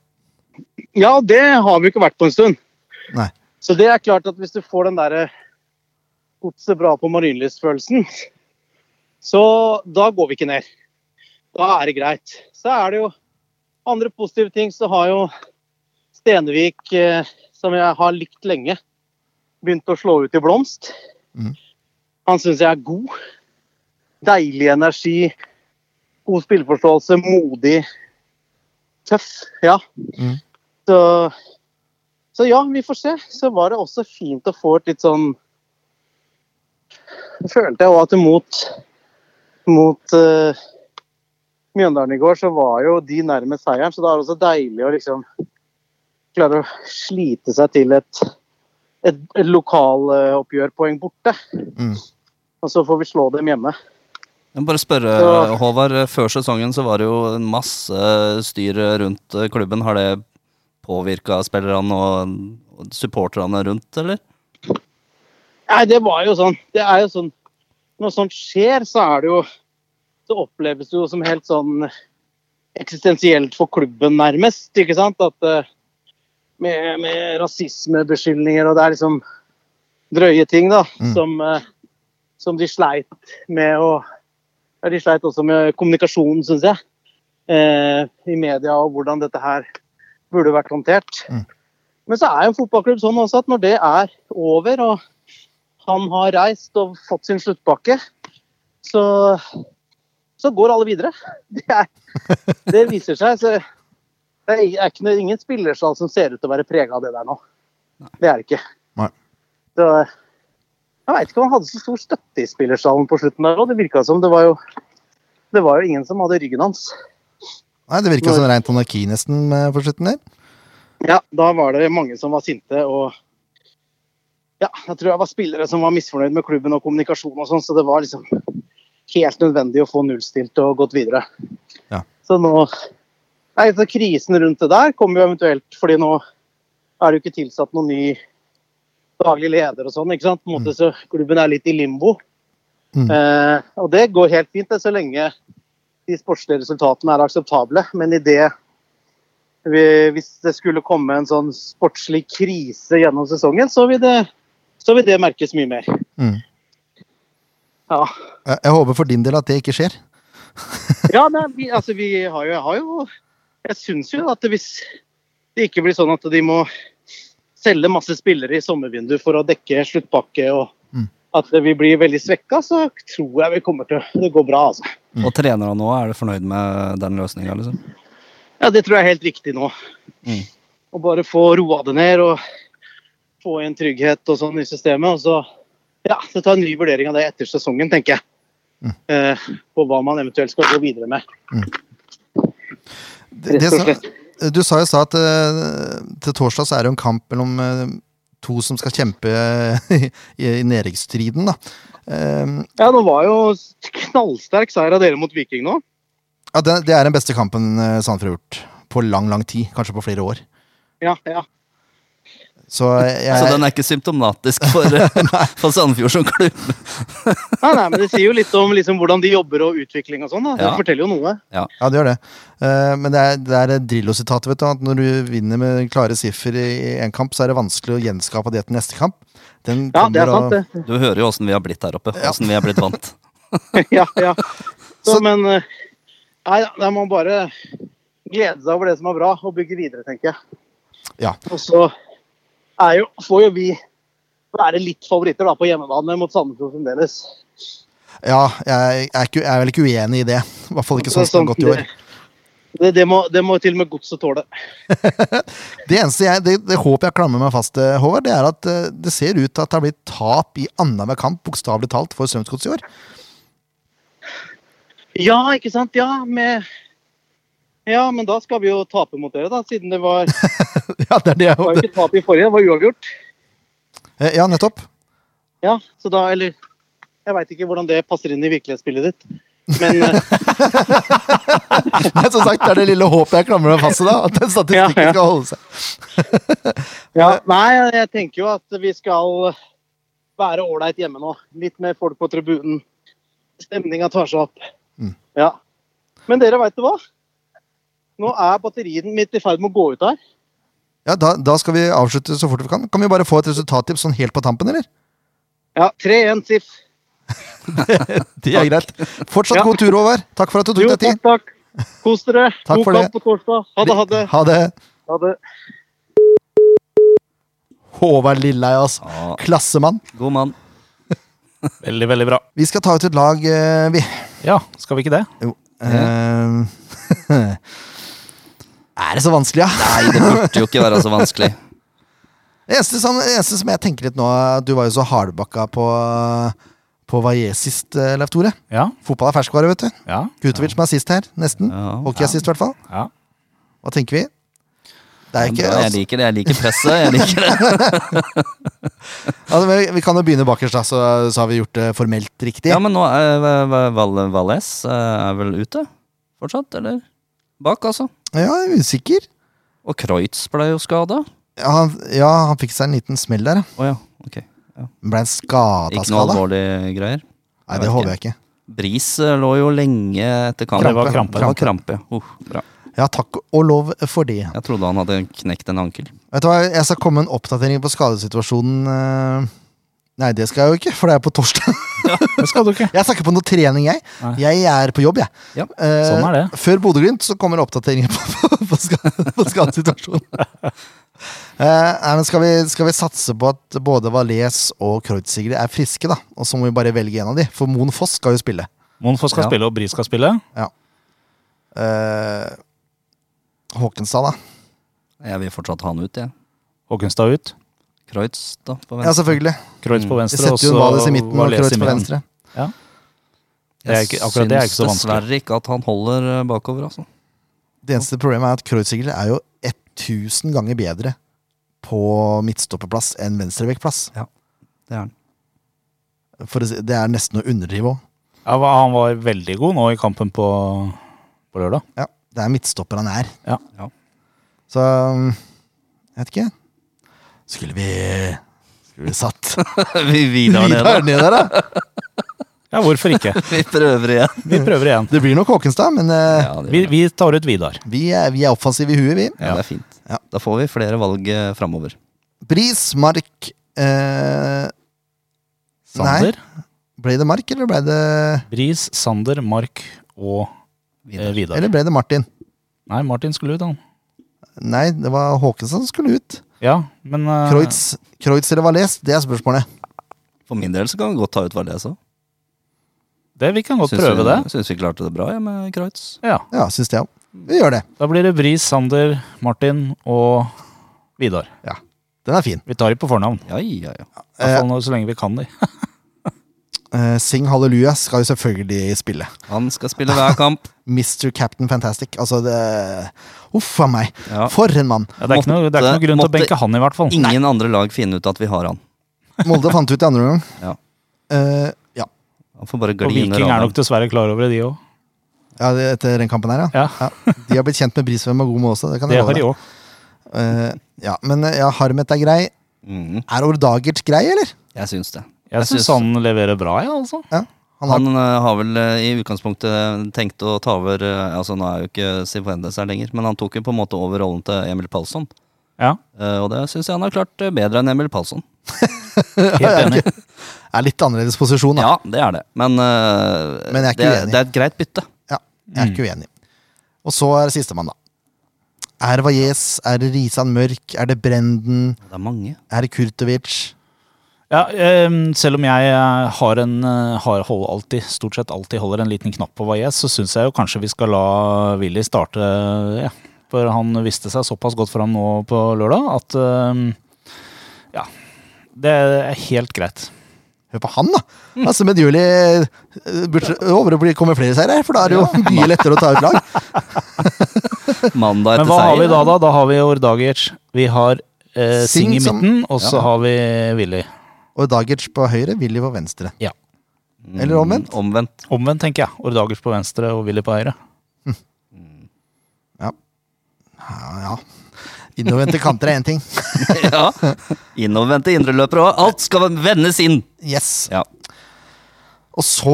Speaker 6: ja, det har vi ikke vært på en stund.
Speaker 1: Nei.
Speaker 6: Så det er klart at hvis du får den derre godset bra på marinlystfølelsen, så da går vi ikke ned. Da er det greit. Så er det jo andre positive ting, så har jo Stenevik, eh, som jeg har likt lenge, begynt å slå ut i blomst.
Speaker 1: Mhm.
Speaker 6: Han syns jeg er god. Deilig energi, god spilleforståelse, modig, tøff. Ja.
Speaker 1: Mhm.
Speaker 6: Så, så ja, vi får se. Så var det også fint å få et litt sånn Det følte jeg òg at mot, mot eh, Mjøndalen i går, så var jo de nærmest seieren. Så da er det også deilig å liksom klare å slite seg til et, et, et lokaloppgjørpoeng borte.
Speaker 1: Mm.
Speaker 6: Og så får vi slå dem hjemme.
Speaker 2: Jeg må bare spørre,
Speaker 6: Ja.
Speaker 2: Håvard. Før sesongen så var det jo en masse styr rundt klubben. Har det påvirka spillerne og og supporterne rundt, eller?
Speaker 6: Nei, det var jo sånn. Det er jo sånn Når sånt skjer, så er det jo Så oppleves det jo som helt sånn eksistensielt for klubben, nærmest. Ikke sant? At eh, med, med rasismebeskyldninger og det er liksom drøye ting, da.
Speaker 1: Mm.
Speaker 6: Som, eh, som de sleit med å Ja, de sleit også med kommunikasjonen, syns jeg. Eh, I media og hvordan dette her burde vært håndtert.
Speaker 1: Mm.
Speaker 6: Men så er jo en fotballklubb sånn også at når det er over og han har reist og fått sin sluttpakke, så, så går alle videre. Det, er, det viser seg. Så det er er ikke, noe- ingen spillerstall som ser ut til å være prega av det der nå. Det er det ikke.
Speaker 1: Nei.
Speaker 6: Så, jeg veit ikke om han hadde så stor støtte i spillerstallen på slutten der òg. Det virka som det var, jo, det var jo ingen som hadde ryggen hans.
Speaker 1: Nei, Det virka som rent anarki nesten eh, på slutten der.
Speaker 6: Ja, da var det mange som var sinte og ja, jeg tror jeg var spillere som var misfornøyd med klubben og kommunikasjon og sånn, så det var liksom helt nødvendig å få nullstilt og gått videre.
Speaker 1: Ja.
Speaker 6: Så nå Nei, så krisen rundt det der kommer jo eventuelt fordi nå er det jo ikke tilsatt noen ny daglig leder og sånn, ikke sant. På en måte så klubben er litt i limbo.
Speaker 1: Mm.
Speaker 6: Eh, og det går helt fint det, så lenge de sportslige resultatene er akseptable, men i det vi- hvis det skulle komme en sånn sportslig krise gjennom sesongen, så vil det, så vil det merkes mye mer.
Speaker 1: Mm.
Speaker 6: Ja,
Speaker 1: Jeg, Eh, jeg håper for din del at det ikke skjer.
Speaker 6: ja nei, vi, altså vi har jo, jeg har jo Jeg syns jo at hvis det ikke blir sånn at de må selge masse spillere i sommervinduet for å dekke sluttpakke og
Speaker 1: Mm.
Speaker 6: at vi blir veldig svekka, så tror jeg vi kommer til å Det går bra, altså.
Speaker 2: Og trenerne nå, er du fornøyd med den løsninga, liksom?
Speaker 6: Ja, det tror jeg er helt riktig nå.
Speaker 2: Mm.
Speaker 6: Å bare få roa det ned og få inn trygghet og sånn i systemet. Og så ja, så ta en ny vurdering av det etter sesongen, tenker jeg.
Speaker 2: Mm.
Speaker 6: Eh, på hva man eventuelt skal gå videre med.
Speaker 1: Det, det
Speaker 6: Rett og
Speaker 1: sa, du sa jo sa at eh, til torsdag så er det jo en kamp mellom eh, to som skal kjempe i, i nedrykksstriden, da. Eh,
Speaker 6: Ja, det var jo knallsterk seier av dere mot Viking nå.
Speaker 1: ja, det, det er den beste kampen eh, Sandefjord har gjort på lang, lang tid. Kanskje på flere år.
Speaker 6: Ja, ja.
Speaker 1: Så jeg
Speaker 2: Så den er ikke symptomatisk for, for Sandefjord som klubb?
Speaker 6: Nei, nei, men Det sier jo litt om liksom, hvordan de jobber og utvikling og sånn. da. Det
Speaker 2: Ja.
Speaker 6: forteller jo noe.
Speaker 1: Ja, det gjør det. Eh, men det er, det er Drillo-sitatet, vet du. At når du vinner med klare siffer i én kamp, så er det vanskelig å gjenskape det til neste kamp. Den
Speaker 6: Ja, det er
Speaker 1: kommer
Speaker 6: sant,
Speaker 1: av-
Speaker 6: det.
Speaker 2: Du hører jo åssen vi har blitt her oppe. Åssen vi er blitt vant.
Speaker 6: ja, ja.
Speaker 1: Så-
Speaker 6: Så, men eh, Nei, da må man bare glede seg over det som er bra, og bygge videre, tenker jeg.
Speaker 1: Ja.
Speaker 6: Og så er jo, får jo vi være litt favoritter da, på hjemmebane mot Sandefjord fremdeles.
Speaker 1: Ja, jeg er, ikke, jeg er vel ikke uenig i det. I hvert fall ikke sånn som det har gått i år.
Speaker 6: Det, det, må, det må til og med godset tåle.
Speaker 1: Det eneste jeg, det, det håpet jeg klamrer meg fast til, Håvard, det er at eh, det ser ut til at det har blitt tap i annenhver kamp, bokstavelig talt, for Strømsgods i år.
Speaker 6: Ja, ikke sant? Ja, med ja, men da skal vi jo tape mot dere, da. Siden det var, det
Speaker 1: ja, det er det jeg
Speaker 6: var jo
Speaker 1: håper.
Speaker 6: ikke tap i forrige, det var uavgjort.
Speaker 1: Eh, Ja, nettopp.
Speaker 6: Ja, så da, eller Jeg veit ikke hvordan det passer inn i virkelighetsbildet ditt. Men eh,
Speaker 1: Men som sagt, det er det lille håpet jeg klamrer meg fast til, da. At den statistikken
Speaker 6: Ja, ja.
Speaker 1: skal holde seg.
Speaker 6: Eh, Ja, nei, jeg tenker jo at vi skal være ålreit hjemme nå. Litt mer folk på tribunen. Stemninga tar seg opp.
Speaker 1: Mm.
Speaker 6: Ja. Men dere veit hva? Nå er batteriet mitt i ferd med å gå ut her.
Speaker 1: Ja, da, da skal vi avslutte så fort vi kan. Kan vi bare få et resultattips sånn helt på tampen, eller?
Speaker 6: Ja, 3-1 Sif.
Speaker 1: Det er greit. Fortsatt
Speaker 6: Ja.
Speaker 1: god tur, Håvard. Takk for at du tok
Speaker 6: Jo,
Speaker 1: deg
Speaker 6: takk,
Speaker 1: tid.
Speaker 6: takk. Kos dere.
Speaker 1: Takk for
Speaker 6: God kamp på torsdag. Ha det, ha det.
Speaker 1: Ha det.
Speaker 6: Ha det.
Speaker 1: Håvard Lilleheie, altså.
Speaker 2: Ja,
Speaker 1: Klassemann.
Speaker 2: god mann.
Speaker 3: Veldig, veldig bra.
Speaker 1: Vi skal ta ut et lag, eh, vi.
Speaker 3: Ja, skal vi ikke det?
Speaker 1: Eh, er det så vanskelig, ja?
Speaker 2: Nei, det burde jo ikke være så vanskelig.
Speaker 1: Det eneste, som, det eneste som jeg tenker litt nå er at Du var jo så hardbakka på, på hva jeg sist, eh, Leif Tore.
Speaker 3: Ja.
Speaker 1: Fotball er ferskvare, vet du.
Speaker 3: Ja.
Speaker 1: Gutovic som er sist her, nesten.
Speaker 2: Ja.
Speaker 1: Hockey er sist, i hvert fall.
Speaker 3: ja.
Speaker 1: Hva tenker vi? Det er ikke,
Speaker 2: Jeg
Speaker 1: altså,
Speaker 2: liker det. Jeg liker presset. Jeg liker det.
Speaker 1: altså, vi, vi kan jo begynne bakerst, da, så, så har vi gjort det formelt riktig.
Speaker 2: Ja, men nå er eh, Val- Val- Valles eh, er vel ute fortsatt, eller? Bak, altså.
Speaker 1: Ja, jeg er usikker.
Speaker 2: Og Kreutz ble jo skada.
Speaker 1: Ja, han, ja, han fikk seg en liten smell der.
Speaker 2: Å ja, ok.
Speaker 1: Ble en skada
Speaker 2: Ikke noe
Speaker 1: skada?
Speaker 2: alvorlige greier.
Speaker 1: Nei, det håper jeg ikke.
Speaker 2: Bris eh, lå jo lenge etter kamp.
Speaker 3: Det var krampe.
Speaker 2: Det var krampe. Uh, bra.
Speaker 1: Ja, takk og lov for det.
Speaker 2: Jeg trodde han hadde knekt en ankel.
Speaker 1: Vet du hva, Jeg skal komme med en oppdatering på skadesituasjonen eh, Nei, det skal jeg jo ikke, for det er på torsdag.
Speaker 3: Det skal du ikke.
Speaker 1: Jeg snakker på noe trening, jeg.
Speaker 3: Nei.
Speaker 1: Jeg er på jobb, jeg.
Speaker 2: Ja,
Speaker 1: Eh,
Speaker 3: sånn er
Speaker 1: Før Bodø-Glimt så kommer oppdateringer på, på, på, ska- på skadesituasjonen. Eh, nei, men skal vi, skal vi satse på at både Valais og Kreutziger er friske, da? Og så må vi bare velge en av de, for Moen Foss skal jo spille.
Speaker 3: Monfoss
Speaker 2: Ja.
Speaker 3: skal spille, og Bris skal spille.
Speaker 1: Eh, Håkenstad, da.
Speaker 2: Jeg vil fortsatt ha han ut, jeg.
Speaker 3: Håkenstad ut.
Speaker 2: Kreutz, da. På
Speaker 1: Ja,
Speaker 2: venstre.
Speaker 1: selvfølgelig.
Speaker 3: Kreutz på
Speaker 1: Vi
Speaker 3: venstre.
Speaker 1: setter jo
Speaker 3: og så
Speaker 1: Valais i midten og
Speaker 3: Valais i
Speaker 1: Kreutz på
Speaker 3: midten.
Speaker 1: venstre.
Speaker 2: Altså,
Speaker 3: Det er ikke, akkurat det er ikke så
Speaker 2: Syns
Speaker 3: vanskelig.
Speaker 2: dessverre ikke at han holder eh, bakover, altså.
Speaker 1: Det eneste problemet er at Kreutziger er jo 1000 ganger bedre på midtstopperplass enn venstrevekkplass.
Speaker 2: Det er han.
Speaker 1: For å si- det er nesten å underdrive òg.
Speaker 3: Ja, hva- han var veldig god nå i kampen på, på lørdag.
Speaker 1: Ja, det er midtstopper han er.
Speaker 3: Ja.
Speaker 2: Ja.
Speaker 1: Så um, jeg vet ikke. Skulle vi Skulle vi satt
Speaker 2: Vi videre
Speaker 1: videre
Speaker 2: ned, da.
Speaker 1: ned der, da?
Speaker 3: Ja, hvorfor ikke?
Speaker 2: Vi prøver igjen.
Speaker 3: Vi prøver igjen.
Speaker 1: Det blir nok Håkenstad, men uh,
Speaker 2: Ja, det,
Speaker 3: Vi, vi tar ut Vidar.
Speaker 1: vi, er, vi er offensive i huet, vi.
Speaker 2: ja, det er fint.
Speaker 1: Ja.
Speaker 2: Da får vi flere valg eh, framover.
Speaker 1: Bris, Mark eh, Nei,
Speaker 3: Sander.
Speaker 1: ble det Mark, eller ble det,
Speaker 3: Bris, Sander, Mark og eh,
Speaker 2: Videre.
Speaker 3: Vidar.
Speaker 1: eller ble det Martin?
Speaker 3: Nei, Martin skulle ut, han.
Speaker 1: Nei, det var Håkenstad som skulle ut.
Speaker 3: Ja, men eh,
Speaker 1: Kreutz, Kreutz eller Valais, det er spørsmålet.
Speaker 2: For min del så kan vi godt ta ut Valdes òg.
Speaker 3: det, vi kan godt prøve
Speaker 2: vi,
Speaker 3: det.
Speaker 2: Syns vi klarte det bra ja, med Kreutz.
Speaker 3: Ja,
Speaker 1: Ja, syns jeg òg. Vi gjør det.
Speaker 3: Da blir det Bris, Sander, Martin og Vidar.
Speaker 1: Den er fin.
Speaker 3: Vi tar de på fornavn.
Speaker 2: Ja, ja, ja.
Speaker 3: I hvert fall nå, så lenge vi kan de.
Speaker 1: Eh, Sing Halleluja skal jo selvfølgelig spille.
Speaker 2: Han skal spille hver kamp.
Speaker 1: Mr. Captain Fantastic. Altså, det Uff a meg.
Speaker 2: Ja.
Speaker 1: For en mann.
Speaker 3: Ja, det, er ikke noe, det er ikke noe grunn til å
Speaker 2: Måtte-
Speaker 3: benke han, i hvert fall.
Speaker 2: Ingen andre lag finner ut at vi har han.
Speaker 1: Molde fant ut i andre omgang.
Speaker 2: Ja.
Speaker 1: Eh, ja.
Speaker 2: Han får bare
Speaker 3: Og
Speaker 2: gli under
Speaker 3: Viking er
Speaker 2: radaren.
Speaker 3: nok dessverre klar over det, de òg.
Speaker 1: ja, det- etter den kampen her, ja.
Speaker 3: Ja,
Speaker 1: ja. De har blitt kjent med Brisveen og god med også. Det kan jeg
Speaker 3: det
Speaker 1: love
Speaker 3: har de
Speaker 1: deg.
Speaker 3: òg.
Speaker 1: Eh, ja, men eh, ja, Harmet er grei.
Speaker 2: Mhm,
Speaker 1: Er Ordagert grei, eller?
Speaker 2: jeg syns det.
Speaker 3: Jeg syns han leverer bra, jeg, altså.
Speaker 1: Ja. Han har,
Speaker 2: Han eh, har vel eh, i utgangspunktet tenkt å ta over eh, Altså Nå er jo ikke Sifuentes her lenger, men han tok jo på en måte over rollen til Emil Palsson.
Speaker 3: Ja,
Speaker 2: Eh, og det syns jeg han har klart eh, bedre enn Emil Palsson.
Speaker 3: helt enig.
Speaker 1: er litt annerledes posisjon, da.
Speaker 2: Ja, det er det. Men, eh,
Speaker 1: Men jeg er ikke
Speaker 2: det,
Speaker 1: uenig.
Speaker 2: det er et greit bytte.
Speaker 1: Ja, jeg er ikke uenig. Og så er det sistemann, da. Er det Valles, er det Risan Mørk, er det Brenden,
Speaker 2: Det er mange.
Speaker 1: er det Kurtovic?
Speaker 3: Ja, ehm, selv om jeg eh, har en eh, har hold alltid, stort sett alltid holder en liten knapp på Valles, så syns jeg jo kanskje vi skal la Willy starte, eh, ja. For han viste seg såpass godt fram nå på lørdag at ehm, Ja. Det er helt greit.
Speaker 1: Hør på han, da!
Speaker 2: Mm.
Speaker 1: Altså, Medjuli eh, burde over å bli- komme flere seier her, for da er det jo mye lettere å ta ut lag.
Speaker 2: Mandag
Speaker 3: Men
Speaker 2: etter
Speaker 3: hva har vi
Speaker 2: seier.
Speaker 3: da, da? Da har vi Ordagic. Vi har eh, Sing i
Speaker 1: Singh som-
Speaker 3: midten, og så
Speaker 2: Ja.
Speaker 3: har vi Willy.
Speaker 1: Og Dagic på høyre, Willy på venstre.
Speaker 3: Ja.
Speaker 1: Eller omvendt.
Speaker 2: Mm, omvendt.
Speaker 3: Omvendt, tenker jeg. Ordagic på venstre og Willy på høyre.
Speaker 1: Ja, ja. Innovervendte kanter er én ting.
Speaker 2: ja. Innovervendte indreløpere òg. Alt skal vendes inn!
Speaker 1: Yes.
Speaker 2: Ja.
Speaker 1: Og så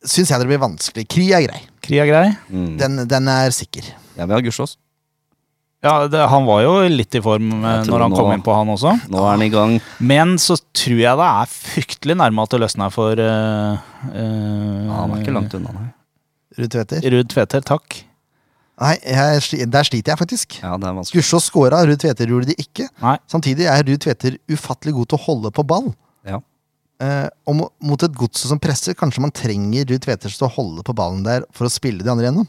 Speaker 1: syns jeg det blir vanskelig. Kry er grei.
Speaker 3: Krig er grei.
Speaker 2: Mm.
Speaker 1: Den, den er sikker.
Speaker 2: Jeg vil ha Gussiås.
Speaker 3: Ja, det, han var jo litt i form eh,
Speaker 2: Jeg tror
Speaker 3: når han
Speaker 2: nå-
Speaker 3: kom inn på, han også.
Speaker 2: Nå er han i gang.
Speaker 3: Men så tror jeg det er fryktelig nærme at det løsner for eh, eh,
Speaker 2: Ja, han er ikke langt unna, nei.
Speaker 1: Ruud Tveter.
Speaker 3: Ruud Tveter, takk.
Speaker 1: Nei, jeg, sli- der sliter jeg faktisk.
Speaker 2: Ja, det er vanskelig.
Speaker 1: Gussiås scora, Ruud Tveter gjorde det ikke.
Speaker 3: Nei.
Speaker 1: Samtidig er Ruud Tveter ufattelig god til å holde på ball.
Speaker 2: Ja.
Speaker 1: Eh, og mo- mot et gods som presser, kanskje man trenger Ruud Tveter til å holde på ballen der for å spille de andre gjennom.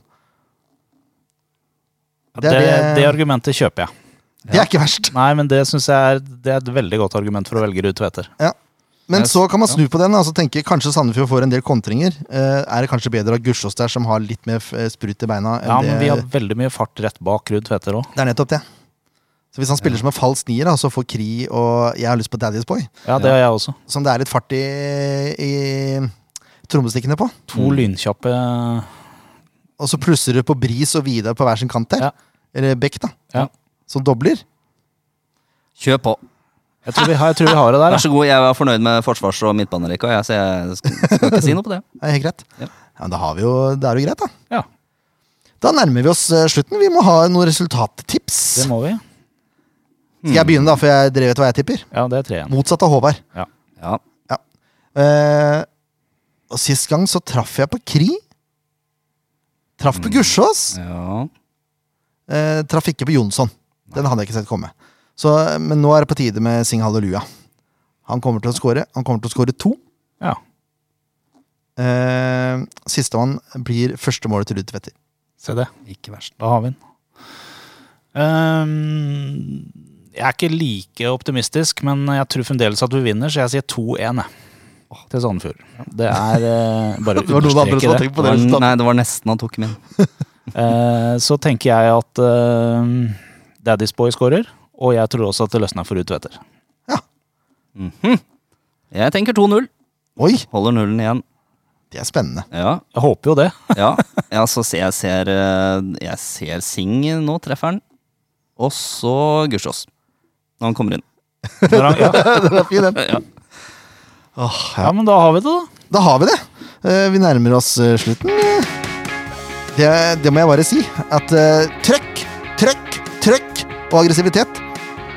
Speaker 3: Det,
Speaker 1: Det er
Speaker 3: det,
Speaker 1: det-
Speaker 3: argumentet kjøper jeg.
Speaker 1: Det er ikke verst.
Speaker 3: Nei, men det syns jeg er, det er et veldig godt argument for å velge Ruud Tveter.
Speaker 1: Ja. Men
Speaker 2: Jeg-
Speaker 1: så kan man snu på den og altså tenke kanskje Sandefjord får en del kontringer. Eh, er det kanskje bedre å ha Gussiås der, som har litt mer f- eh, sprut i beina? Enn
Speaker 3: Ja, men
Speaker 1: det,
Speaker 3: vi har veldig mye fart rett bak Ruud Tveter òg.
Speaker 1: det er nettopp det. Så Hvis han spiller som en falsk nier, da, så får Kri og Jeg har lyst på Daddy's Boy,
Speaker 3: Ja, det har jeg også.
Speaker 1: som det er litt fart i, i trommestikkene på.
Speaker 3: To lynkjappe
Speaker 1: Og så plusser du på Bris og Vidar på hver sin kant der.
Speaker 3: Ja.
Speaker 1: Eller Beck, da.
Speaker 3: Ja.
Speaker 1: Som dobler.
Speaker 2: Kjør på.
Speaker 3: Jeg tror vi har, jeg tror vi har det
Speaker 2: Vær
Speaker 3: der. Ja.
Speaker 2: så god, jeg var fornøyd med forsvars- og midtbanerekka, jeg, så jeg sk- skal ikke si noe på det.
Speaker 1: Det er helt greit.
Speaker 2: Ja.
Speaker 1: Ja. men da har vi jo, det er jo greit, da.
Speaker 3: Ja,
Speaker 1: Da nærmer vi oss eh, slutten. Vi må ha noen resultattips.
Speaker 3: det må vi.
Speaker 1: Skal jeg begynne, da, for jeg dere vet hva jeg tipper?
Speaker 3: Ja, det er tre igjen.
Speaker 1: Motsatt av Håvard.
Speaker 3: Ja.
Speaker 2: Ja.
Speaker 1: Eh, og sist gang så traff jeg på Kri. Traff
Speaker 3: Mm.
Speaker 1: på Gussiås.
Speaker 2: ja.
Speaker 1: Eh, traff ikke på Jonsson. Den hadde jeg ikke sett komme. Så, eh, men nå er det på tide med Sing Halleluja. Han kommer til å score. Han kommer til å score to.
Speaker 3: Ja.
Speaker 1: Eh, Sistemann blir første målet til Ruud Tveter.
Speaker 3: Se det.
Speaker 2: Ikke verst.
Speaker 3: Da har vi den. Ehm, jeg er ikke like optimistisk, men jeg tror fremdeles at vi vinner, så jeg sier 2-1 jeg, til Sandefjord. Det er eh, bare
Speaker 1: var
Speaker 3: å
Speaker 1: noen andre som
Speaker 3: understreke
Speaker 1: hadde
Speaker 3: det.
Speaker 1: tenkt
Speaker 2: Det
Speaker 1: på det
Speaker 2: var,
Speaker 1: resultatet.
Speaker 2: nei, det var nesten han tok min.
Speaker 3: Eh, så tenker jeg at eh, Daddy's Boy scorer, og jeg tror også at det løsner for Ruud Tveter.
Speaker 2: Jeg tenker 2-0.
Speaker 1: Oi,
Speaker 2: Holder nullen igjen.
Speaker 1: det er spennende.
Speaker 2: Ja.
Speaker 3: Jeg håper jo det.
Speaker 2: Ja, ja så ser jeg ser, eh, jeg ser Sing nå, treffer han. Og så Gussiås. Når han kommer inn.
Speaker 3: Når han, ja.
Speaker 1: Den er fin, den. Åh, ja.
Speaker 3: ja, men da har vi det, da.
Speaker 1: Da har vi det. Eh, vi nærmer oss eh, slutten. Det, det må jeg bare si. At eh, trøkk, trøkk, trøkk og aggressivitet,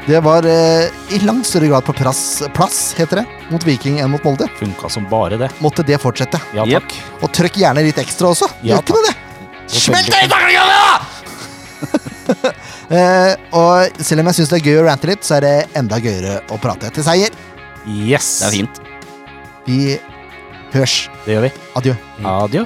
Speaker 1: det var eh, i langt større grad på plass, plass, heter det, mot Viking enn mot Molde.
Speaker 3: Funka som bare det.
Speaker 1: Måtte det fortsette.
Speaker 3: Ja
Speaker 2: Jep.
Speaker 3: takk.
Speaker 1: Og trøkk gjerne litt ekstra også.
Speaker 3: Ja,
Speaker 1: Gjør ikke det det? Smelt deg i taklinga, da! Eh, og selv om jeg syns det er gøy å rante litt, så er det enda gøyere å prate til seier.
Speaker 3: Yes.
Speaker 2: Det er fint.
Speaker 1: Vi hørs.
Speaker 3: Det gjør vi.
Speaker 1: Adjø.
Speaker 3: Adjø.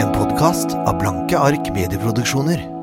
Speaker 1: En podkast av Blanke ark medieproduksjoner.